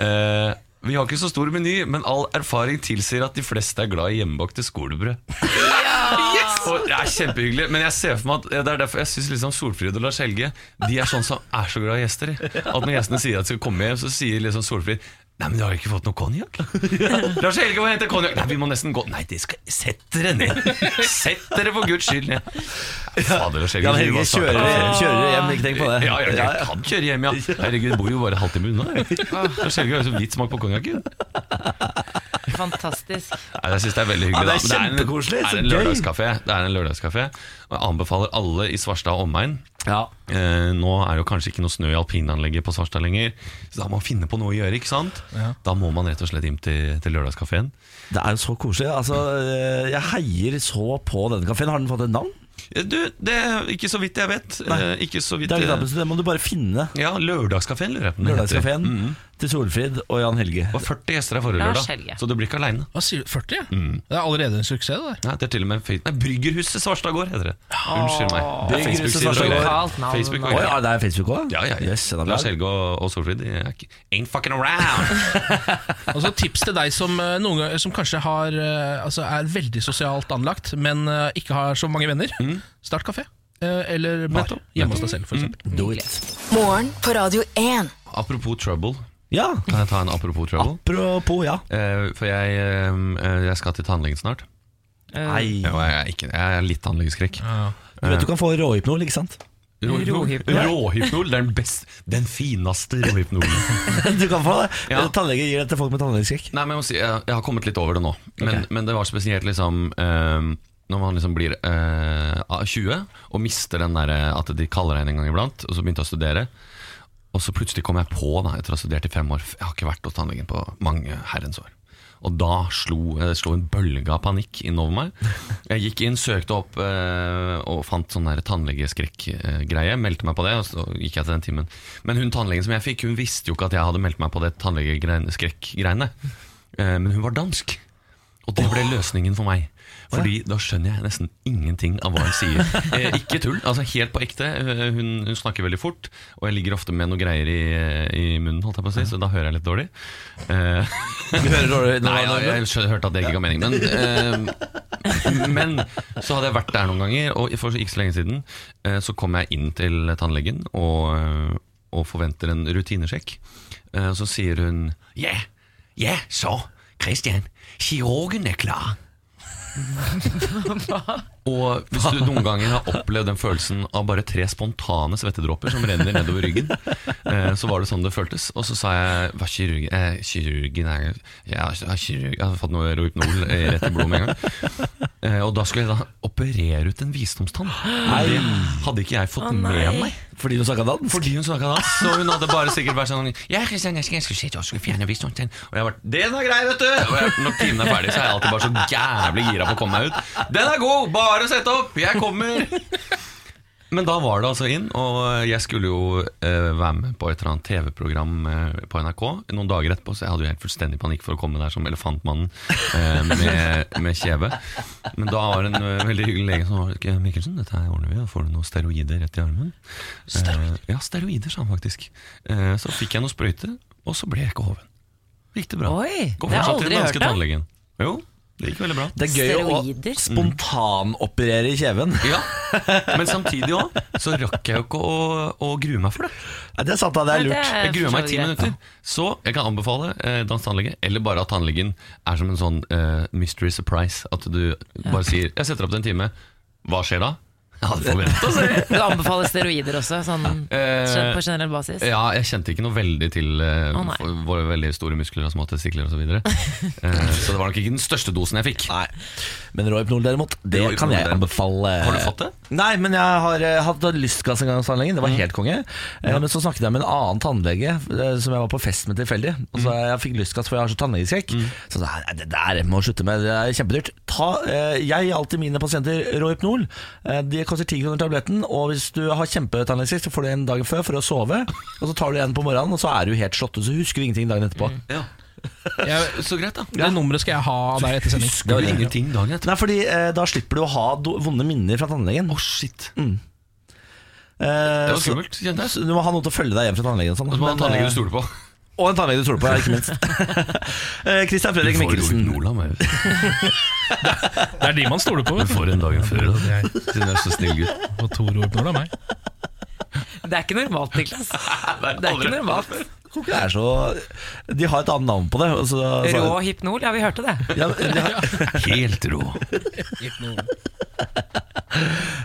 Eh, vi har ikke så stor meny, men all erfaring tilsier at de fleste er glad i hjemmebakte skolebrød. Yes! Og det er kjempehyggelig, men jeg ser for meg at det er derfor jeg syns liksom Solfrid og Lars Helge De er sånn som er så glad i gjester. At når gjestene sier at de skal komme hjem, så sier liksom Solfrid Nei, men du har jo ikke fått noe konjakk? Lars Helge må hente konjakk. Nei, vi må nesten gå Nei, de skal Sett dere ned! Sett dere for guds skyld ned! Fader, Lars Helge.
Jan
du
Helge
var snart-
kjører, kjører hjem, ikke tenk på det.
Ja, ja, jeg kan kjøre hjem, ja. Herregud, jeg bor jo bare halvtime unna. jeg. Lars Helge har jo så vidt smak på konjakken.
Fantastisk.
Nei, Jeg synes det er veldig hyggelig.
Ja, det er
da. Men
kjempekoselig,
Det
så
er en, det er en
gøy.
lørdagskafé. Det er en lørdagskafé. Og jeg anbefaler alle i Svarstad og omegn.
Ja.
Eh, nå er det jo kanskje ikke noe snø i alpinanlegget på Svarstad lenger, så da må man finne på noe å gjøre, ikke sant? Da må man rett og slett inn til, til lørdagskafeen.
Det er jo så koselig. Altså, eh, jeg heier så på denne kafeen. Har den fått et navn?
Eh, Du, det er ikke så vidt jeg vet. Eh, ikke så vidt
Det, er litt
eh,
annerledes, det må du bare finne.
Ja, Lørdagskafeen, lurer jeg på. om den heter. Mm.
Lørdagskafeen til Solfrid og Jan Helge.
Det var 40 gjester her forrige
Lars
lørdag,
Helge.
så du blir ikke aleine.
Hva sier du? 40? Det er allerede en suksess, det der.
Nei, det er til og med en fe- Nei, Bryggerhuset Svarstad gård heter det. Unnskyld meg. Det er
Bryggerhuset
Facebook-sider og
Svarstad
greier.
Gård. Lokalt navn.
Facebook og
Oi,
greier.
ja, det er Facebook òg?
Ja, ja, ja.
Yes, den er bra.
Lars Helge og, og Solfrid de er ikke, Ain't fucking *laughs* around!
Altså, tips til deg som, eh, noen ganger, som kanskje har, eh, altså, er veldig sosialt anlagt, men eh, ikke har så mange venner. Start kafé. eh, Eller bar. Hjemme hos deg selv, for eksempel.
Do it.
Morgen på Radio 1.
apropos trouble.
Ja.
Kan jeg ta en apropos trouble?
Apropos, ja.
Eh, for jeg, eh, eh, jeg skal til tannlegen snart.
Nei.
Jo, jeg, er ikke, jeg er litt anleggsskrekk.
Du vet du kan få råhypnol, ikke sant? *laughs*
Rohypnol.
Råhypnol det er den, best, den fineste råhypnolen.
Du kan få det.
Ja.
Tannlege gir det til folk med tannlegeskrekk.
Nei, men jeg, må si, jeg, jeg har kommet litt over det nå. Men,
Ok.
men det var spesielt liksom eh, når man liksom blir eh, av 20 og mister den der eh, at de kaller deg inn en gang iblant, og så begynte jeg å studere. Og så plutselig kom jeg på, da, etter å ha studert i fem år Jeg har ikke vært hos tannlegen på mange herrens år. Og da slo, eh, slo en bølge av panikk innover meg. Jeg gikk inn, søkte opp eh, og fant sånn der tannlegeskrekk-greie. Meldte meg på det, og så gikk jeg til den timen. Men hun tannlegen som jeg fikk, hun visste jo ikke at jeg hadde meldt meg på det tannlegeskrekk-greiene. Eh, men hun var dansk. Og det ble løsningen for meg. Fordi da skjønner jeg nesten ingenting av hva hun
*laughs*
sier. Eh, ikke tull, altså helt på ekte. Eh, Hun, hun snakker veldig fort, og jeg ligger ofte med noe greier i, i munnen, holdt jeg på å si, så da hører jeg litt dårlig. Eh,
Du hører dårlig
*laughs* Nei, ja, jeg skjø- hørte at det ikke ga
*laughs*
mening, men, eh, *laughs* men så hadde jeg vært der noen ganger, og for ikke så lenge siden eh, så kom jeg inn til tannlegen og, eh, og forventer en rutinesjekk. Eh, så sier hun Ja, ja, så, Christian, kirurgen er klar. Og hvis du noen ganger har opplevd den følelsen av bare tre spontane svettedråper som renner nedover ryggen, eh, så var det sånn det føltes. Og så sa jeg hva kirurg, eh, kirurgen er jeg, er kirurg, jeg har fått noe Rohypnol eh, rett i blodet med en gang. Eh, og da skulle jeg da operere ut en visdomstann. Men Det hadde ikke jeg fått med meg.
Fordi du snakka dansk?
Fordi hun snakka dansk, så hun hadde bare sikkert vært sånn Ja, Kristian, jeg skal, jeg skal se til oss, skal fjerne visdomstann. Og jeg har vært Den er grei, vet du! Og jeg, når timen er ferdig, så er jeg alltid bare så jævlig gira på å komme meg ut. Den er god! Bare sett opp! Jeg kommer! Men da var det altså inn, og jeg skulle jo eh, være med på et eller annet TV-program eh, på NRK noen dager etterpå, så jeg hadde jo helt fullstendig panikk for å komme der som elefantmannen eh, med, med kjeve. Men da var det en eh, veldig hyggelig lege som var «Ok, Mikkelsen, dette her ordner vi, og får du noen steroider rett i armen? Steroider? Eh, ja, steroider, sa han faktisk. Eh, så fikk jeg noen sprøyter, og så ble jeg ikke hoven. Gikk det bra?
Oi,
Går
det har jeg
fortsatt
aldri
til den
hørt
danske
om.
tannlegen. Jo, det gikk veldig bra.
Det er gøy
Steroider?
å spontanoperere i kjeven.
Ja, Men samtidig òg, så rakk jeg jo ikke å, å grue meg for det.
Ja, det er sant, da. Det er
Nei, det
lurt.
er-
Jeg gruer meg
for så
i ti
vidt
minutter. Så jeg kan anbefale eh, dansk tannlege, eller bare at tannlegen er som en sånn eh, mystery surprise. At du bare sier 'jeg setter opp til en time', hva skjer da? Ja, det får vi vente og se.
*laughs* Du anbefaler steroider også, sånn
Eh,
gen- på generell basis?
Ja, jeg kjente ikke noe veldig til eh,
Å, nei.
for- våre veldig store muskler og små testikler osv.
*laughs*
Så, videre. eh, så det var nok ikke den største dosen jeg fikk.
Nei. Men Rohypnol derimot, det
Rohypnol,
kan jeg
derimot.
anbefale.
Har du fått det? Mm.
Nei, men jeg har eh, hatt lystgass en gang hos tannlegen. Det var helt konge. Eh, Men så snakket jeg med en annen tannlege eh, som jeg var på fest med tilfeldig. Og
Mm.
så jeg fikk lystgass for jeg har så tannlegeskrekk. Så sa jeg, «Nei, det der må jeg slutte med, det er kjempedyrt. Ta, eh, jeg gir alltid mine pasienter Rohypnol. Eh, Det koster 10 kroner tabletten. Og hvis du har kjempetannlegeskrekk, så får du en dag før for å sove. Og så tar du en på morgenen, og så er du helt slått ut. Så husker du ingenting dagen etterpå.
Ja. så greit, da.
Det nummeret skal jeg ha av deg etter sending.
Husker du ingenting dagen etter?
Nei, fordi eh, da slipper du å ha do- vonde minner fra tannlegen.
Å, shit.
Eh,
Det var
så-
skummelt, kjente jeg.
Så Du må ha noen til å følge deg hjem fra tannlegen. Og, sånn,
Og så må du ha en
men,
tannlege
eh,
du stoler på.
og en tannlege du stoler på, ja, ikke minst. *laughs* Eh, Christian Fredrik Mikkelsen.
Rohypnol av meg.
Det er de man stoler på,
Du
vet du.
får en dagen før. da. Siden jeg er så snill gutt.
Og Tor Rohypnol av meg.
Det er ikke normalt,
*laughs*
Niklas. Det er ikke normalt.
Jeg tror ikke det er så De har et annet navn på det. og Så, så,
Rå hypnol, ja vi hørte det.
*laughs* Ja, men de har,
Helt rå.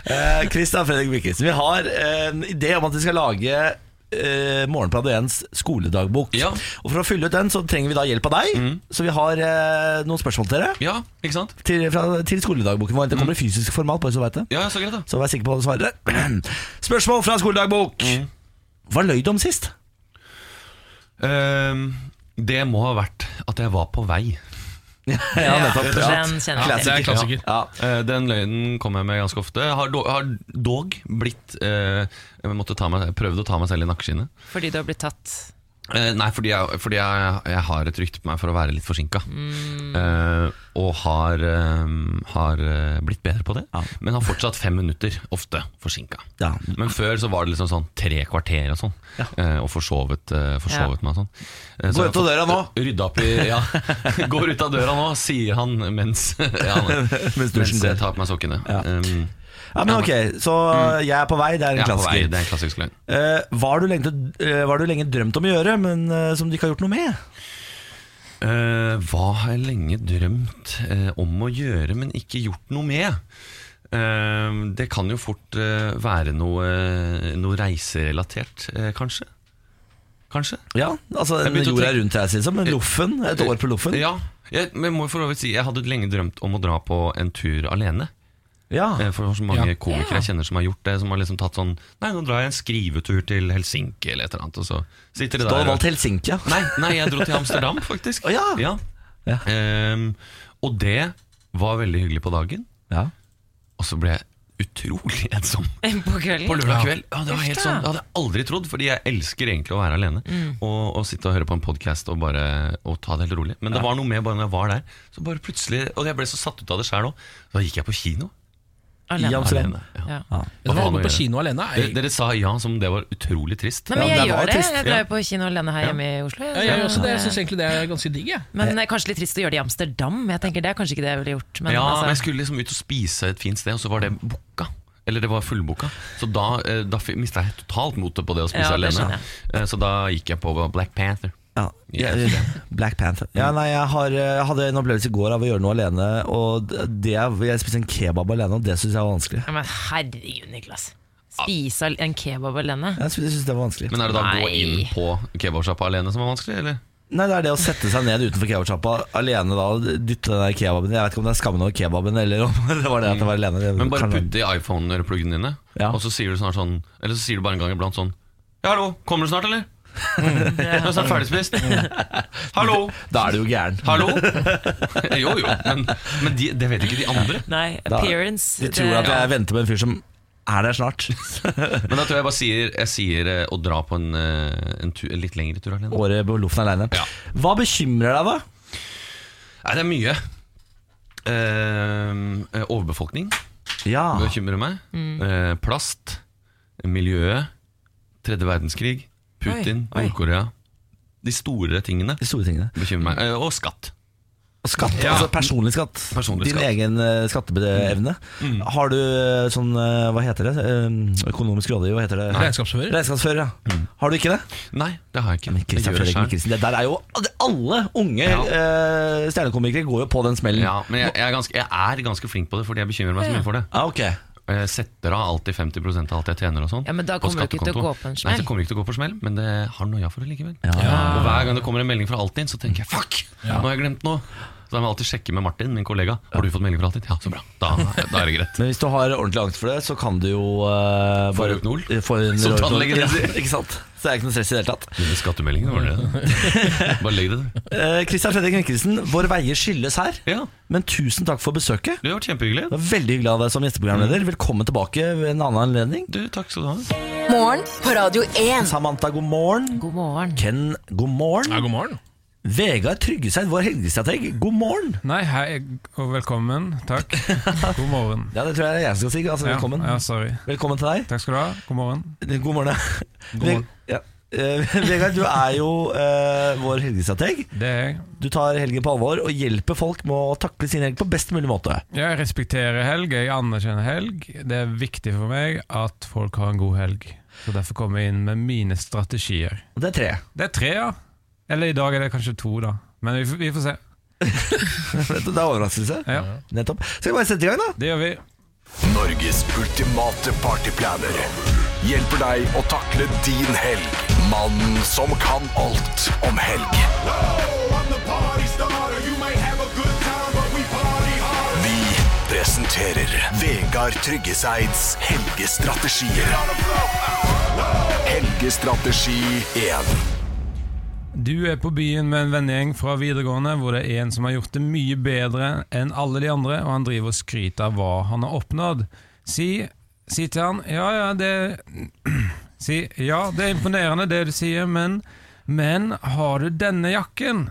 eh, Christian Fredrik Mikkelsen, vi har eh, en idé om at vi skal lage eh, Morgenbladet 1s skoledagbok.
Ja. Mm.
Og For å fylle ut den så trenger vi da hjelp av deg. Så vi har eh, noen spørsmål til dere.
Ja, ikke sant?
Til, fra, til skoledagboken vår. Det kommer i
Mm.
fysisk format. bare så du vet det
Ja, så greit da
Så vær sikker på å svare. *clears throat* Spørsmål fra skoledagbok. Hva løy du om sist?
Ehm, Det må ha vært at jeg var på vei
Ja, nettopp.
Den kjenner
Det
jeg til.
er klassiker.
Ja.
Eh, Den løgnen kommer jeg med ganske ofte Jeg har, do, har dog blitt eh, Jeg måtte ta meg, prøvde å ta meg selv i nakkeskinnet
Fordi du har blitt tatt. *laughs*
Eh, Nei, fordi, jeg, fordi jeg, jeg har et rykte på meg for å være litt forsinket Eh, Og har, eh, har eh, blitt bedre på det
Ja.
Men har fortsatt fem minutter, ofte forsinket
Ja.
Men før så var det liksom sånn tre kvarter og sånn. Eh, og forsovet, eh, forsovet meg og sånn. Eh, så
Gå
jeg
ut av
har
døra
*laughs*
nå!
fått Rydda opp i Ja. *laughs* Går ut av døra nå, sier han mens, *laughs* ja,
*laughs*
han,
Mens
mens,
dusjen går.
jeg tar på meg sokkene.
Ja.
Um,
ja, men ok, så eh, jeg er på vei, det er
jeg
en
er på vei,
klassiker.
det er en klassisk løgn.
Eh, hva har du, lenge, eh, hva har du lenge drømt om å gjøre, men eh, som du ikke har gjort noe med?
Eh, hva har jeg lenge drømt eh, om å gjøre, men ikke gjort noe med? Eh, det kan jo fort eh, være noe, eh, noe reiserelatert, eh, kanskje. Kanskje?
Ja, altså
Jeg
en
begynte å
jorda
tenke-
rundt her, liksom. Men Loffen. Et år på Loffen.
Ja, jeg, men jeg må jo for å si Jeg hadde lenge drømt om å dra på en tur alene.
Ja.
Eh, For det er så mange komikere jeg kjenner som har gjort det. Som har liksom tatt sånn Nei, nå drar jeg en skrivetur til Helsinki eller et eller annet. Og så sitter de
Da har
der
du
og-
valgt Helsinki, ja.
Nei, nei, jeg dro til Amsterdam, faktisk.
Å, ja. Ja.
Ehm, og det var veldig hyggelig på dagen.
ja.
Og så ble jeg utrolig ensom
På kvelden.
på lørdag kveld. Ja, det var helt
Uff da. Mm.
sånn, det hadde jeg aldri trodd, fordi jeg elsker egentlig å være alene. Og, og sitte og høre på en podkast og bare og ta det helt rolig. Men det var noe med bare når jeg var der, så bare plutselig Og jeg ble så satt ut av det sjøl òg. Da gikk jeg på kino.
I
Alene.
Amsterdam.
Ja.
Ja.
Hva
Å
faen
gå
å
på
gjøre?
kino alene
Dere,
er
dere sa ja som om det var utrolig trist.
Nei, men
Ja, det
jeg
var
gjør det.
trist,
Jeg drar jo på kino alene her hjemme i Oslo. jeg, så-
Ja, Jeg gjør også det. Jeg syns egentlig det er ganske digg. Jeg.
Men det er kanskje litt trist å gjøre det i Amsterdam. Jeg tenker Det er kanskje ikke det jeg ville gjort. Men,
ja, men jeg
altså,
skulle liksom ut og spise et fint sted, og så var det booka. Eller det var fullboka. Så da, eh, da mista jeg totalt motet på det å spise
Ja, det
alene. Eh, Så da gikk jeg på Black Panther.
Ja. Jeg- Black Panther. Ja, nei, jeg, har, eh, jeg hadde en opplevelse i går av å gjøre noe alene. Og det, Jeg spiste en kebab alene, og det syns jeg var vanskelig.
ja, men herregud, Niklas. Spise al- en kebab alene?
Jeg synes det var vanskelig
Men er det da å gå
Nei.
inn på kebabsjappa alene som var vanskelig, eller?
Nei, Det er det å sette seg ned utenfor kebabsjappa alene da og dytte den der kebaben Jeg vet ikke om det er skammen over kebaben, eller om *laughs* det var det at jeg var alene. Det
Men bare
kan være-
putte i iPhone-pluggene dine,
Ja.
og så sier du snart sånn Eller så sier du bare en gang iblant sånn Ja, hallo, kommer du snart, eller? *laughs* Jeg er snart ferdigspist. Hallo!
Da er du jo gæren.
Hallo! Jo, jo, men, men de, det vet ikke de andre.
Nei,
Da-
appearance
De tror
det-
at jeg venter på en fyr som er der
*laughs*
snart.
Men da tror jeg bare sier, jeg sier eh, å dra på en, eh, en, tu, en litt lengre tur alene.
Året på loften alene.
Ja.
Hva bekymrer deg, da?
Nei, det er mye. Ehm, eh, overbefolkning
Ja.
bekymrer meg. Eh, plast. Miljøet. Tredje verdenskrig. Putin.
Oi, oi.
Nord-Korea. De store tingene
De store tingene.
bekymrer meg. Eh, og skatt.
Og Skatt, altså personlig skatt.
Personlig
Din
skatt. Mm.
egen eh, skatteevne. Har du eh, sånn eh, Hva heter det? Eh, Økonomisk rådgiver, hva heter det?
Regnskapsfører.
Regnskapsfører, ja.
Mm.
Har du ikke det?
Nei, det har jeg ikke. Jeg
Christian
gjør
Fredrik
det selv.
Mikkelsen. Det der er jo det- Alle unge
Ja.
eh, stjernekomikere går jo på den smellen.
Ja, men jeg, jeg, er ganske, jeg er ganske flink på det, fordi jeg bekymrer meg så mye for det.
Ah, ok
Jeg setter av alltid 50 av alt jeg tjener og sånn.
Ja, men da
på
kommer du ikke til å
skattekonto.
gå på en
Nei,
smell.
så kommer jeg ikke til å gå på smell, men det har noia for det likevel. Og hver gang det kommer en melding fra Altinn, så tenker jeg fuck, nå har jeg glemt noe. Så da må jeg alltid sjekke med Martin, min kollega. Har du fått melding fra Altinn? Ja, så bra. Da, da er det greit.
Men hvis du har ordentlig angst for det, så kan du jo uh,
Få Rohypnol?
Få en
Som
Rohypnol.
tannlegen din sier.
Ja, ikke sant? Så det er ikke noe stress i det hele tatt.
Denne skattemeldingen, var det det? *laughs* Bare legg det der.
Eh, Christian Fredrik Mikkelsen, våre veier skyldes her.
Ja,
Men tusen takk for besøket.
det har vært kjempehyggelig.
Det var Veldig hyggelig å ha deg som
Mm.
gjesteprogramleder. Velkommen tilbake ved en annen anledning.
Du, takk skal du ha.
Morgen på Radio 1.
Samantha, god morgen.
God morgen.
Ken, god morgen.
Ja, god morgen.
Vegard Tryggeseid, vår helgestrateg, god morgen.
Nei, hei og velkommen. Takk. God morgen.
Ja, det tror jeg jeg skal si. Altså, velkommen.
Ja, ja, sorry.
Velkommen til deg.
Takk skal du ha. God morgen.
God morgen.
morgen.
Ve- ja. Eh, *laughs* Vegard, du er jo eh, vår helgestrateg.
Det er jeg.
Du tar helgen på alvor og hjelper folk med å takle sin helg på best mulig måte.
Jeg respekterer helg, jeg anerkjenner helg. Det er viktig for meg at folk har en god helg. Så derfor kommer jeg inn med mine strategier.
Og det er tre. *laughs*
Det er tre, ja. Eller i dag er det kanskje to, da. Men vi, får- vi får se.
Vet du, Det er overraskelse.
Ja,
Nettopp. Skal vi bare sette i gang, da?
Det gjør vi.
Norges ultimate partyplaner hjelper deg å takle din helg. Mannen som kan alt om helg. Vi presenterer Vegard Tryggeseids helgestrategier. Helgestrategi 1.
Du er på byen med en vennegjeng fra videregående hvor det er en som har gjort det mye bedre enn alle de andre, og han driver og skryter av hva han har oppnådd. Si, si til han ja, ja, det *clears throat* Si ja, det er imponerende det du sier, men Men har du denne jakken?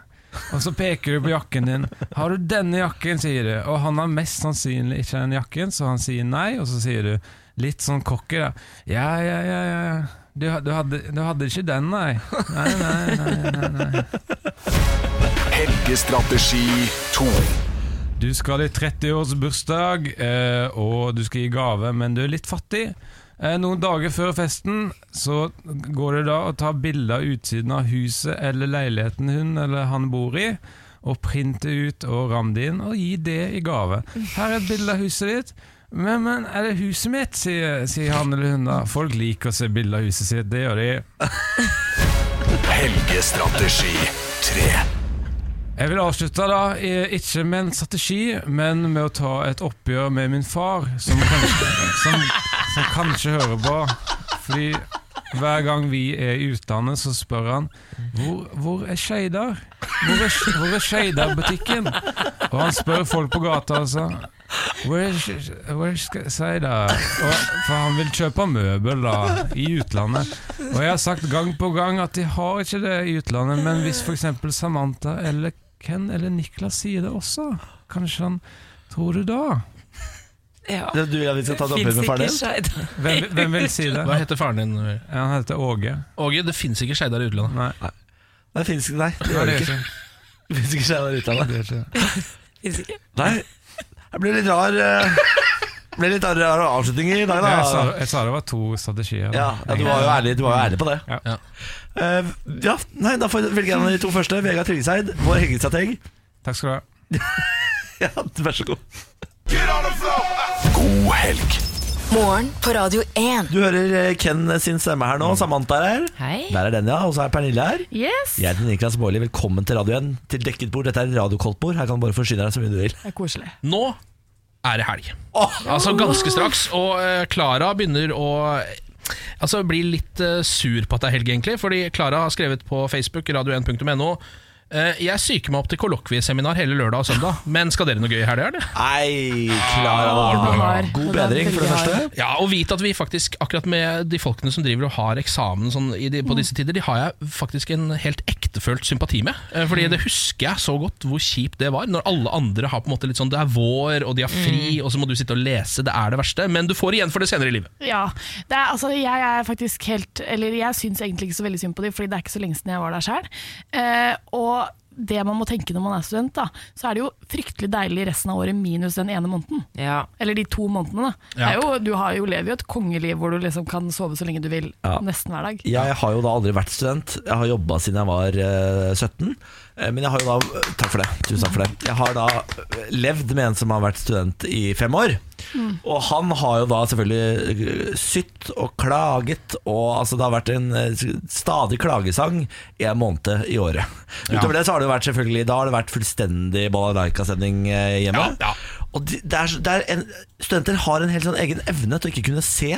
Og så peker du på jakken din. Har du denne jakken, sier du. Og han har mest sannsynlig ikke den jakken, så han sier nei, og så sier du litt sånn cocky, da. Ja, ja, ja, ja. Du, ha- du, hadde, du hadde ikke den, nei. Nei, nei, nei.
Helgestrategi 2.
Du skal i 30-årsbursdag, eh, og du skal gi gave, men du er litt fattig. Eh, Noen dager før festen så går det da å ta bilder av utsiden av huset eller leiligheten hun eller han bor i, og printe ut og ramme det inn og gi det i gave. Her er et bilde av huset ditt. Men, men, er det huset mitt? sier, sier han eller hun da. Folk liker å se bilder av huset sitt, det gjør de.
Helgestrategi 3.
Jeg vil avslutte da, eh, ikke med en strategi, men med å ta et oppgjør med min far, som kanskje, som, som kanskje hører på. Fordi hver gang vi er i utlandet, så spør han Hvor, hvor er Skeidar? Hvor er, hvor er Skeidar-butikken? Og han spør folk på gata, altså. Where is, where is Skeidar? Og, for han vil kjøpe møbel, da, i utlandet. Og jeg har sagt gang på gang at de har ikke det i utlandet, men hvis f.eks. Samantha eller Ken eller Niklas sier det også, kanskje han tror du da?
Ja.
Det er Du vil at vi skal ta det oppgjør
Fins
med faren
ikke
din?
Skeid.
Hvem, hvem vil si det?
Hva heter faren din?
Han heter Åge.
Åge, det fins ikke Skeidar i utlandet.
Nei.
Nei, det finnes ikke, nei, det gjør det ikke. Det finnes ikke Skeidar i utlandet.
Fins ikke.
Nei, det ble litt rar eh, Det ble litt rar, rar avslutning i dag,
Jeg sa,
da.
jeg sa det var to strategier.
Ja, ja, du var jo ærlig, du var jo ærlig på det.
Ja.
Ja.
Eh, ja, nei, Da får jeg velge en av de to første. Vegard Tryggeseid, vår hengestrateg.
Takk skal du ha.
*laughs* Ja, vær så god.
God helg.
Morgen på Radio 1.
Du hører eh, Ken sin stemme her nå. Samantha er her.
Hei.
Der er den, ja. Og så er Pernille her.
Yes,
Jeg heter Niklas Baarli. Velkommen til Radio 1. Til dekket bord. Dette er radiokoltbord. Her kan du bare forsyne deg så mye du vil.
det er koselig.
Nå er det helg. Altså ganske straks. Og eh, Klara begynner å Altså blir litt eh, sur på at det er helg, egentlig. Fordi Klara har skrevet på Facebook, radio1.no. eh, Jeg psyker meg opp til kollokvieseminar hele lørdag og søndag, men skal dere noe gøy i helga, eller?
Nei, Klara.
Hard.
God
Den er
bedring, for det
veldig hard.
første.
Ja, og vit at vi faktisk, akkurat med de folkene som driver og har eksamen sånn, i de, på disse tider, de har jeg faktisk en helt ektefølt sympati med. Eh, Fordi det husker jeg så godt hvor kjipt det var. Når alle andre har på en måte litt sånn det er vår, og de har fri, og så må du sitte og lese, det er det verste. Men du får igjen for det senere i livet.
Ja, det er, altså, jeg er faktisk helt Eller jeg syns egentlig ikke så veldig synd på dem, Fordi det er ikke så lenge siden jeg var der sjøl. Eh, og det man må tenke når man er student, da, så er det jo fryktelig deilig resten av året minus den ene måneden.
Ja.
Eller de to månedene, da. Det
Ja.
er jo, du har jo, lever jo et kongeliv hvor du liksom kan sove så lenge du vil
Ja.
nesten hver dag.
Jeg har jo da aldri vært student. Jeg har jobba siden jeg var eh, 17. Eh, Men jeg har jo da Takk for det. Tusen takk for det. Jeg har da eh, levd med en som har vært student i fem år.
Mm.
Og han har jo da selvfølgelig eh, sytt og klaget, og altså det har vært en eh, stadig klagesang en måned i året. Utover det så har det jo vært selvfølgelig Da har det vært fullstendig balalaika-stemning eh, hjemme.
Ja, ja.
Og de- det er, så- det er en, studenter har en helt sånn egen evne til å ikke kunne se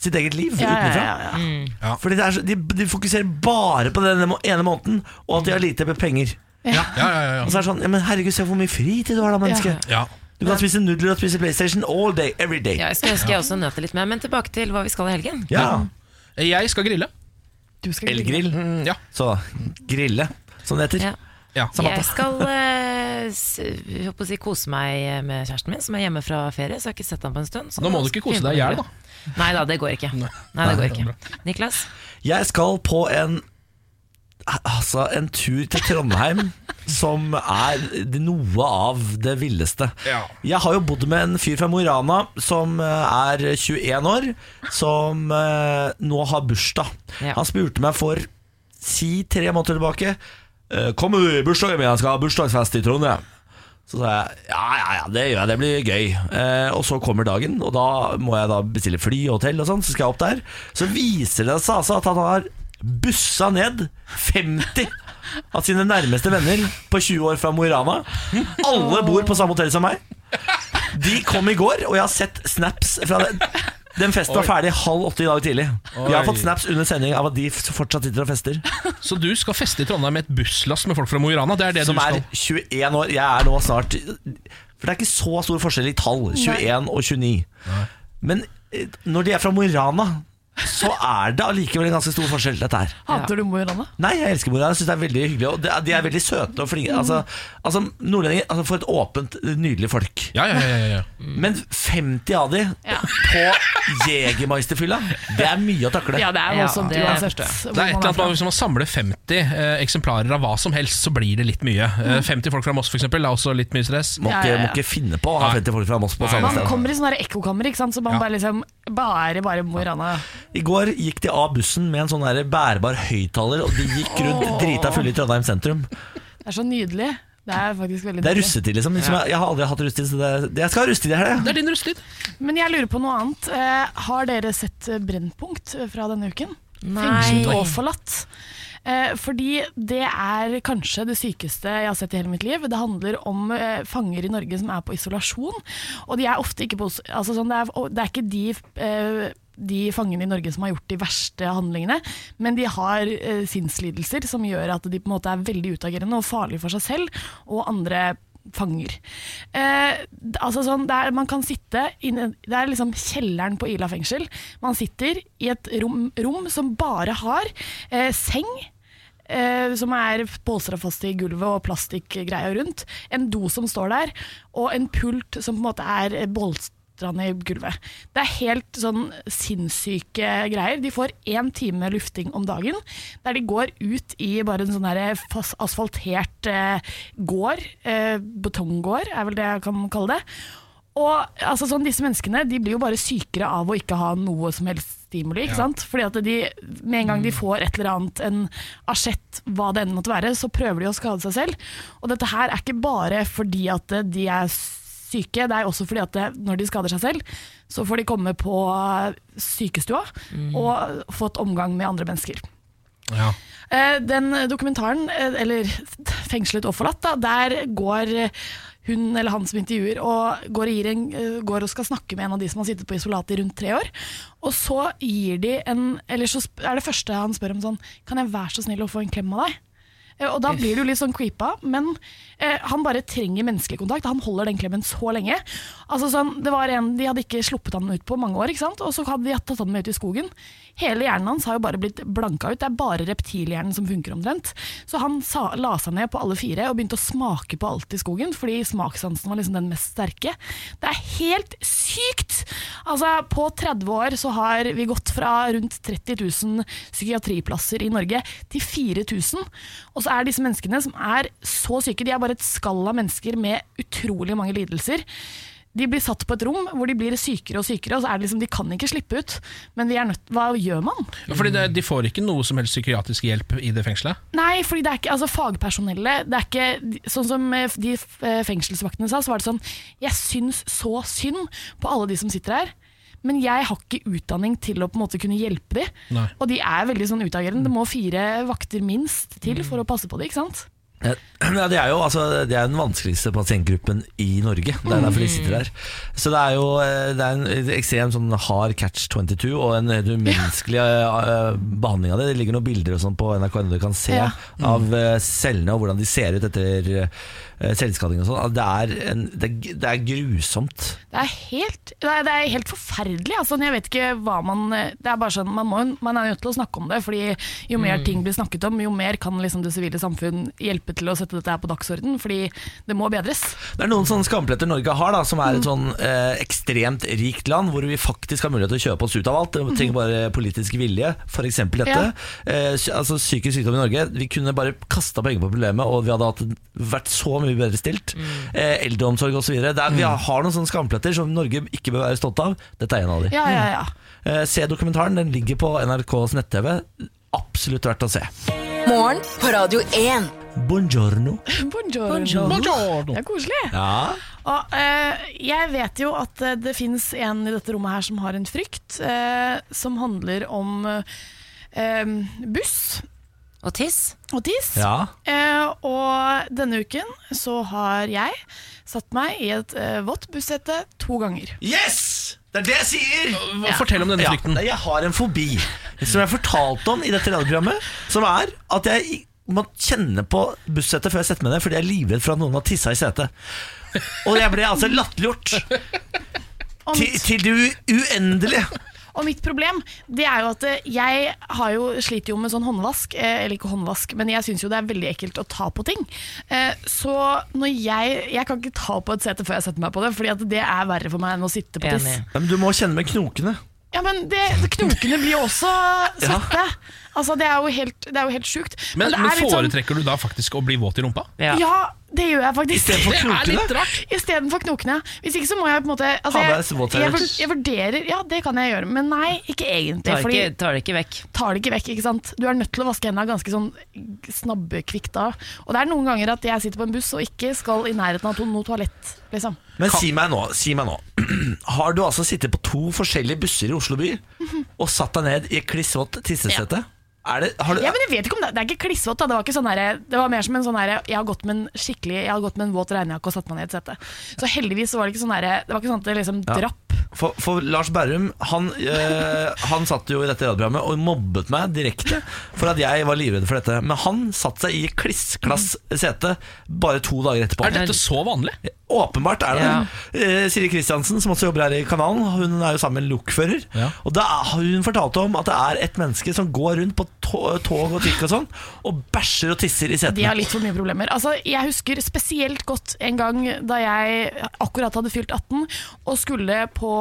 sitt eget liv
Ja, ja,
utenfra.
ja, ja.
Fordi det er så, de, de fokuserer bare på den ene måneden, og at de har lite med penger.
Ja, ja, ja, ja.
Og så er det sånn, ja, men herregud, se hvor mye fritid du har da, menneske.
Ja.
Du kan spise nudler og spise PlayStation all day, every day.
ja, jeg skulle ønske jeg også nøt det litt mer. Men tilbake til hva vi skal i helgen.
Ja,
Jeg skal grille.
Du skal ikke-
elgrill.
Mm, ja.
Så grille, som det heter.
Ja.
ja.
Jeg skal eh, s- jeg håper å si, kose meg med kjæresten min, som er hjemme fra ferie. Så jeg har ikke sett ham på en stund. så
Nå må du ikke kose deg i hjel, da.
Nei da, det går ikke. Nei, det går ikke. Niklas?
Jeg skal på en Altså, en tur til Trondheim *laughs* som er noe av det villeste.
Ja.
Jeg har jo bodd med en fyr fra Mo i Rana som eh, er 21 år, som eh, nå har bursdag.
Ja.
Han spurte meg for si tre måneder tilbake eh, Kom du i bursdagen min, jeg skal ha bursdagsfest i Trondheim. Så sa jeg ja, ja, ja, det gjør jeg, det blir gøy. Eh, og så kommer dagen, og da må jeg da bestille fly og hotell og sånn, så skal jeg opp der. Så viser det seg altså at han har bussa ned 50 av sine nærmeste venner på 20 år fra Mo i Rana. Alle bor på samme hotell som meg. De kom i går, og jeg har sett snaps fra det. Den festen var ferdig halv åtte i dag tidlig. Jeg har fått snaps under sending av at de fortsatt sitter og fester.
Så du skal feste i Trondheim med et busslass med folk fra Mo i Rana? Det er det
som
du
er
skal.
21 år. Jeg er nå snart For det er ikke så stor forskjell i tall, 21 og 29. Men eh, når de er fra Mo i Rana, så er det allikevel en ganske stor forskjell, dette her.
Hater du Mo i Rana?
Nei, jeg elsker mora. Jeg synes det er veldig hyggelig. Og det er- de er veldig søte og flinke. Altså,
Mm.
altså Nordlendinger altså, for et åpent, nydelig folk.
Ja, Mm. ja, ja, ja, ja.
Men 50 av de på Jegermeisterfylla, det er mye å takle.
Ja, det er
Ja,
voldsomt
det
uansett.
forstår
hvor
Det er et
man
eller annet med at
fra.
Hvis man samler 50 eh, eksemplarer av hva som helst, så blir det litt mye.
Mm.
Eh, 50 folk fra Moss, f.eks., er også litt mye stress.
Må,
Ja,
ikke,
ja, ja.
må ikke finne på å ha
Nei.
50 folk fra Moss på
Nei,
samme
nei,
Man
sted.
kommer i sånne ekkokammer, ikke sant? så man
Ja.
bare liksom Bare, bare Mo i Rana.
I går gikk de av bussen med en sånn der bærbar høyttaler, og de gikk rundt drita fulle i Trondheim sentrum.
Det er så nydelig. Det er faktisk veldig
Det er
nydelig.
russetid, liksom. liksom jeg, jeg har aldri hatt russetid, så det er, jeg *clears throat* skal ha russetid i helga.
Det er din rustetid.
Men jeg lurer på noe annet. Eh, har dere sett eh, Brennpunkt eh, fra denne uken?
Nei.
Fengslet og forlatt. Eh, fordi det er kanskje det sykeste jeg har sett i hele mitt liv. Det handler om eh, fanger i Norge som er på isolasjon. Og de er ofte ikke på is- altså, sånn, det, er, og det er ikke de eh, de fangene i Norge som har gjort de verste handlingene, men de har eh, sinnslidelser som gjør at de på en måte er veldig utagerende og farlige for seg selv og andre fanger. Eh, d- altså sånn, det er- man kan sitte inne, Det er liksom kjelleren på Ila fengsel. Man sitter i et rom, rom som bare har eh, seng. Eh, som er bolstra fast i gulvet og plastikkgreier rundt. En do som står der, og en pult som på en måte er eh, bolstra ned i gulvet. Det er helt sånn sinnssyke greier. De får én time lufting om dagen, der de går ut i bare en sånn her fas- asfaltert eh, gård, eh, betonggård er vel det jeg kan kalle det. Og altså, sånn, disse menneskene de blir jo bare sykere av å ikke ha noe som helst stimuli. ikke sant? Fordi at de, Med en gang de får et eller annet, en asjett, hva det enn måtte være, så prøver de å skade seg selv. Og dette her er ikke bare fordi at eh, de er syke, det er også fordi at eh, når de skader seg selv, så får de komme på eh, sykestua og få et omgang med andre mennesker.
Ja.
Eh, Den dokumentaren, eh, eller *laughs* Fengslet og forlatt, da, der går eh, hun eller han som intervjuer, og går og, gir en, eh, går og skal snakke med en av de som har sittet på isolat i rundt tre år. Og så gir de en Eller så sp- er det første han spør om sånn Kan jeg være så snill å få en klem av deg? Eh, Og da blir det jo litt sånn creepa, men eh, han bare trenger menneskelig kontakt. Han holder den klemmen så lenge. Altså sånn, det var en, De hadde ikke sluppet han ut på mange år, ikke sant? og så hadde de tatt han med ut i skogen. Hele hjernen hans har jo bare blitt blanka ut, det er bare reptilhjernen som funker omtrent. Så han sa, la seg ned på alle fire og begynte å smake på alt i skogen, fordi smakssansen var liksom den mest sterke. Det er helt sykt! Altså, på 30 år så har vi gått fra rundt 30 000 psykiatriplasser i Norge til 4000. Og så er disse menneskene som er så syke, de er bare et skall av mennesker med utrolig mange lidelser. De blir satt på et rom hvor de blir sykere og sykere, og så er det liksom, de kan ikke slippe ut. Men vi er nødt, hva gjør man?
Fordi det, De får ikke noe som helst psykiatrisk hjelp i det fengselet.
Nei, fordi det er ikke, altså fagpersonellet det er ikke, Sånn som eh, de eh, fengselsvaktene sa, så var det sånn Jeg syns så synd på alle de som sitter her, men jeg har ikke utdanning til å på en måte kunne hjelpe de.
Nei.
Og de er veldig sånn utagerende. Det må fire vakter minst til for å passe på de, ikke sant?
Ja, det er jo altså, det er den vanskeligste pasientgruppen i Norge. Det er derfor de sitter der. Så det er jo eh, det er en ekstrem sånn hard catch 22 og en helt umenneskelig eh, eh, behandling av det. Det ligger noen bilder og sånn på NRK.no du kan se
Ja.
av eh, cellene og hvordan de ser ut etter eh, selvskading og sånn. Altså, Det, er en- det, er- det er grusomt.
Det er helt, det er, det er helt forferdelig. Altså, jeg vet ikke hva man Det er bare sånn, man, må, man er nødt til å snakke om det. Fordi jo mer ting blir snakket om, jo mer kan liksom det sivile samfunn hjelpe til å sette dette her på dagsorden. Fordi det må bedres.
Det er noen sånne skampletter Norge har, da, som er et sånn eh, ekstremt rikt land, hvor vi faktisk har mulighet til å kjøpe oss ut av alt. Vi trenger bare politisk vilje, f.eks. dette.
Ja.
Eh, sy- altså Psykisk sykdom i Norge. Vi kunne bare kasta penger på problemet, og vi hadde hatt, vært så mye bedre stilt. Eh, eldreomsorg osv. Vi har noen sånne skampletter som Norge ikke bør være stolt av. Dette er en av de.
Ja, ja, ja.
Eh, se dokumentaren, den ligger på NRKs nett-TV. Absolutt verdt å se.
Morgen på Radio 1.
Buongiorno.
Buongiorno.
Buongiorno.
Det er koselig.
Ja.
Og eh, jeg vet jo at eh, det finnes en i dette rommet her som har en frykt, eh, som handler om eh, buss
Og tiss.
og tiss.
ja.
Eh, og denne uken så har jeg satt meg i et eh, vått bussete to ganger.
Yes! Det er det jeg sier!
Hva- Fortell om denne
Ja,
frykten.
nei, jeg har en fobi som jeg fortalte om i dette radioprogrammet, som er at jeg i- må kjenne på bussetet før jeg setter meg ned, fordi jeg er livredd for at noen har tissa i setet. Og jeg ble altså latterliggjort
Og
til, til det u- uendelige.
Og mitt problem det er jo at eh, jeg har jo, sliter jo med sånn håndvask, eh, eller ikke håndvask, men jeg syns jo det er veldig ekkelt å ta på ting. Eh, Så når jeg Jeg kan ikke ta på et sete før jeg setter meg på det, Fordi at det er verre for meg enn å sitte på tiss.
Enig.
Ja, men du må kjenne med knokene.
Ja, men det, Knokene blir jo også svette. Altså, det er jo helt, det er jo helt sjukt.
Men,
det
men
er litt sånn-
foretrekker du da faktisk å bli våt i rumpa?
Ja.
Ja, *laughs* det gjør jeg faktisk.
Det er litt rart.
Istedenfor knokene. Hvis ikke så må jeg på en måte
Ha
altså,
deg
jeg, jeg,
våtservietter.
vur- jeg vurderer Ja, det kan jeg gjøre, men nei, ikke egentlig.
Tar,
Fordi
ikke, tar det ikke vekk.
tar det ikke vekk, ikke sant. Du er nødt til å vaske hendene ganske sånn snabbekvikt da. Og det er noen ganger at jeg sitter på en buss og ikke skal i nærheten av to- noe toalett, liksom.
Men si meg nå, si meg nå. *clears throat* Har du altså sittet på to forskjellige busser i Oslo by og satt deg ned i klissvått tissesete? Er det, har du,
Ja, men jeg vet ikke om det, det er ikke klissvått, da. Det var, ikke sånn derre- det var mer som en sånn herre Jeg har gått med en skikkelig Jeg har gått med en våt regnejakke og satt meg ned i et sete. Så heldigvis så var det ikke sånn herre Det var ikke sånn at det liksom drapp.
For, for Lars Berrum han, eh, han satt jo i dette radioprogrammet og mobbet meg direkte for at jeg var livredd for dette. Men han satte seg i klissklass sete bare to dager etterpå.
Er dette så vanlig?
Åpenbart er det det. Eh, Siri Kristiansen, som også jobber her i kanalen, hun er jo sammen med en lokfører.
Ja.
Og da har hun fortalte om at det er et menneske som går rundt på to- tog og trikk og sånn, og bæsjer og tisser i
De har
setene.
litt for mye problemer. Altså, jeg husker spesielt godt en gang da jeg akkurat hadde fylt 18 og skulle på,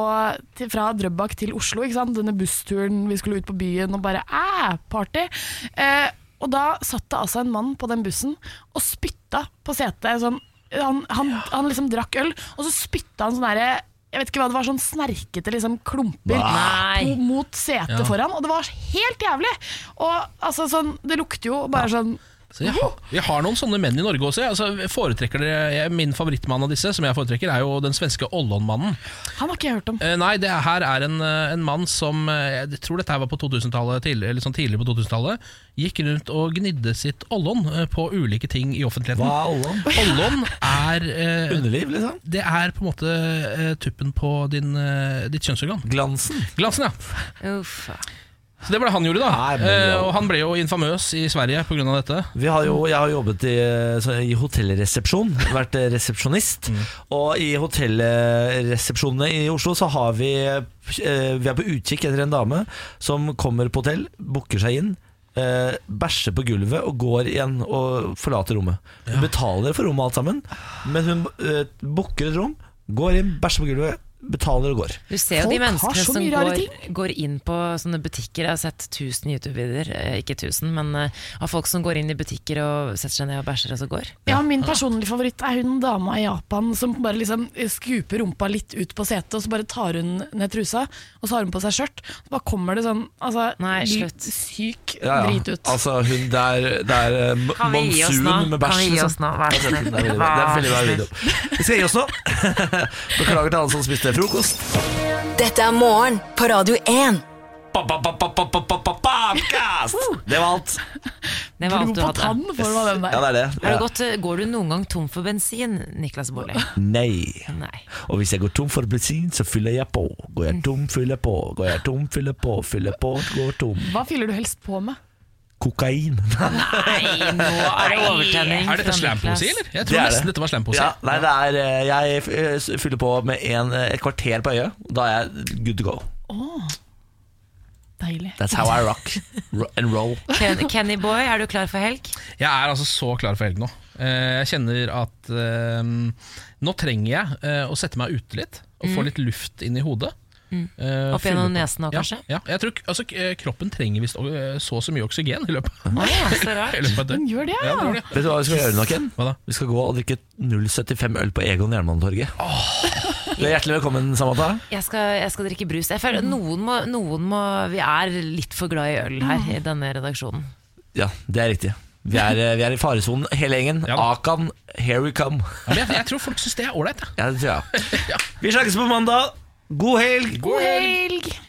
til, fra Drøbak til Oslo. Ikke sant? Denne bussturen vi skulle ut på byen og bare æ, party. Eh, og da satt det altså en mann på den bussen og spytta på setet. Sånn, han, han, han liksom drakk øl, og så spytta han sånn derre jeg vet ikke hva det var, sånn snerkete liksom, klumper
Nei.
på- mot setet foran. Og det var helt jævlig! Og altså, sånn, det lukter jo bare sånn
Så jeg har, vi har noen sånne menn i Norge også. jeg. Altså, jeg foretrekker dere, jeg, min favorittmann av disse som jeg foretrekker, er jo den svenske Ollon-mannen.
Han har ikke jeg hørt om.
Eh, nei, det her er en, eh, en mann som eh, Jeg tror dette her var på 2000-tallet tidlig- eller sånn tidligere på 2000-tallet. Gikk rundt og gnidde sitt Ollon eh, på ulike ting i offentligheten.
Hva er Ollon?
Ollon er eh,
Underliv, liksom?
Det er på en måte eh, tuppen på din, eh, ditt kjønnsorgan.
Glansen?
Glansen, ja.
Uff.
Så det var det han gjorde, da.
Nei, men-
Eh, og han ble jo infamøs i Sverige pga. dette.
Vi har jo, jeg har jobbet i, eh, så- i hotellresepsjon, vært eh, resepsjonist.
Mm.
Og i hotellresepsjonene i Oslo så har vi eh, Vi er på utkikk etter en dame som kommer på hotell, booker seg inn. eh, bæsjer på gulvet og går igjen og forlater rommet. Hun betaler for rommet og alt sammen, men hun uh, booker et rom, går inn, bæsjer på gulvet, betaler og går.
Du ser jo
Folk
de
har
menneskene
så
som
mye rare
går, går inn på sånne butikker. Jeg har sett 1000 YouTube-videoer, eh, ikke 1000, men eh, av folk som går inn i butikker og setter seg ned og bæsjer og så går.
Ja, Min personlige favoritt er hun dama i Japan som bare liksom skuper rumpa litt ut på setet, og så bare tar hun ned trusa, og så har hun på seg skjørt. Så bare kommer det sånn altså,
Nei, slutt.
litt syk
Ja, ja.
drit ut.
Altså, hun, det er, det er eh, m-
Kan vi gi oss nå?
monsun med
Kan
bæsj.
vi gi oss
liksom.
nå? Vær så snill.
Det er veldig bra. Det er veldig bra video. Vi skal gi oss nå. *laughs* Beklager til alle som spiste frokost.
Dette er morgen på Radio 1.
Ba, ba, ba, ba, ba, ba, ba, ba, Podcast! Det var alt.
Det var
Dro
alt du
på
hadde.
tann for hva den
Ja,
der.
det er det.
Har det
Ja.
gått, eh, går du noen gang tom for bensin, Niklas
*laughs*
Baarli?
Nei.
Nei.
Og hvis jeg går tom for bensin, så fyller jeg på. Går jeg tom, fyller på. Går jeg tom, fyller på. Fyller på, går tom.
Hva fyller du helst på med?
Kokain.
Nei, nå er det overtenning.
Er
fra
dette
Niklas.
slampoesi, eller? Jeg
Det
tror
er
nesten
det.
dette var slampoesi.
*laughs* Ja, nei, det er eh, Jeg eh, fyller på med en, eh, et kvarter på øyet. Da er jeg good to go.
Deilig.
That's how I rock Ro- and roll.
Ken, Kenny Boy, er du klar for helg?
Jeg er altså så klar for helg nå. Eh, Jeg kjenner at eh, nå trenger jeg eh, å sette meg ute litt og få litt luft inn i hodet. Eh,
Opp gjennom
fylle på-
nesen også,
ja,
kanskje?
Ja. Jeg tror, k- altså, k- kroppen trenger visst eh, så og så mye oksygen i løpet
Å ja,
*laughs*
så
i
rart.
løpet av et
Den
døgn.
gjør det,
Ja,
ja!
det gjorde jeg.
Vet du hva vi skal gjøre nå, Ken?
Hva da?
Vi skal gå og drikke 0,75 øl på Egon Jernbanetorget. *laughs* Du er hjertelig velkommen, Samantha.
Jeg skal, jeg skal drikke brus. Jeg føler noen må, noen må Vi er litt for glad i øl her
Mm.
i denne redaksjonen.
Ja, det er riktig. Vi er, eh, vi er i faresonen, hele gjengen.
Ja da.
Akan, here we come.
Ja, men jeg, jeg tror *laughs* folk syns det er ålreit. jeg.
Ja, det tror jeg. Vi snakkes på mandag. God helg!
God helg!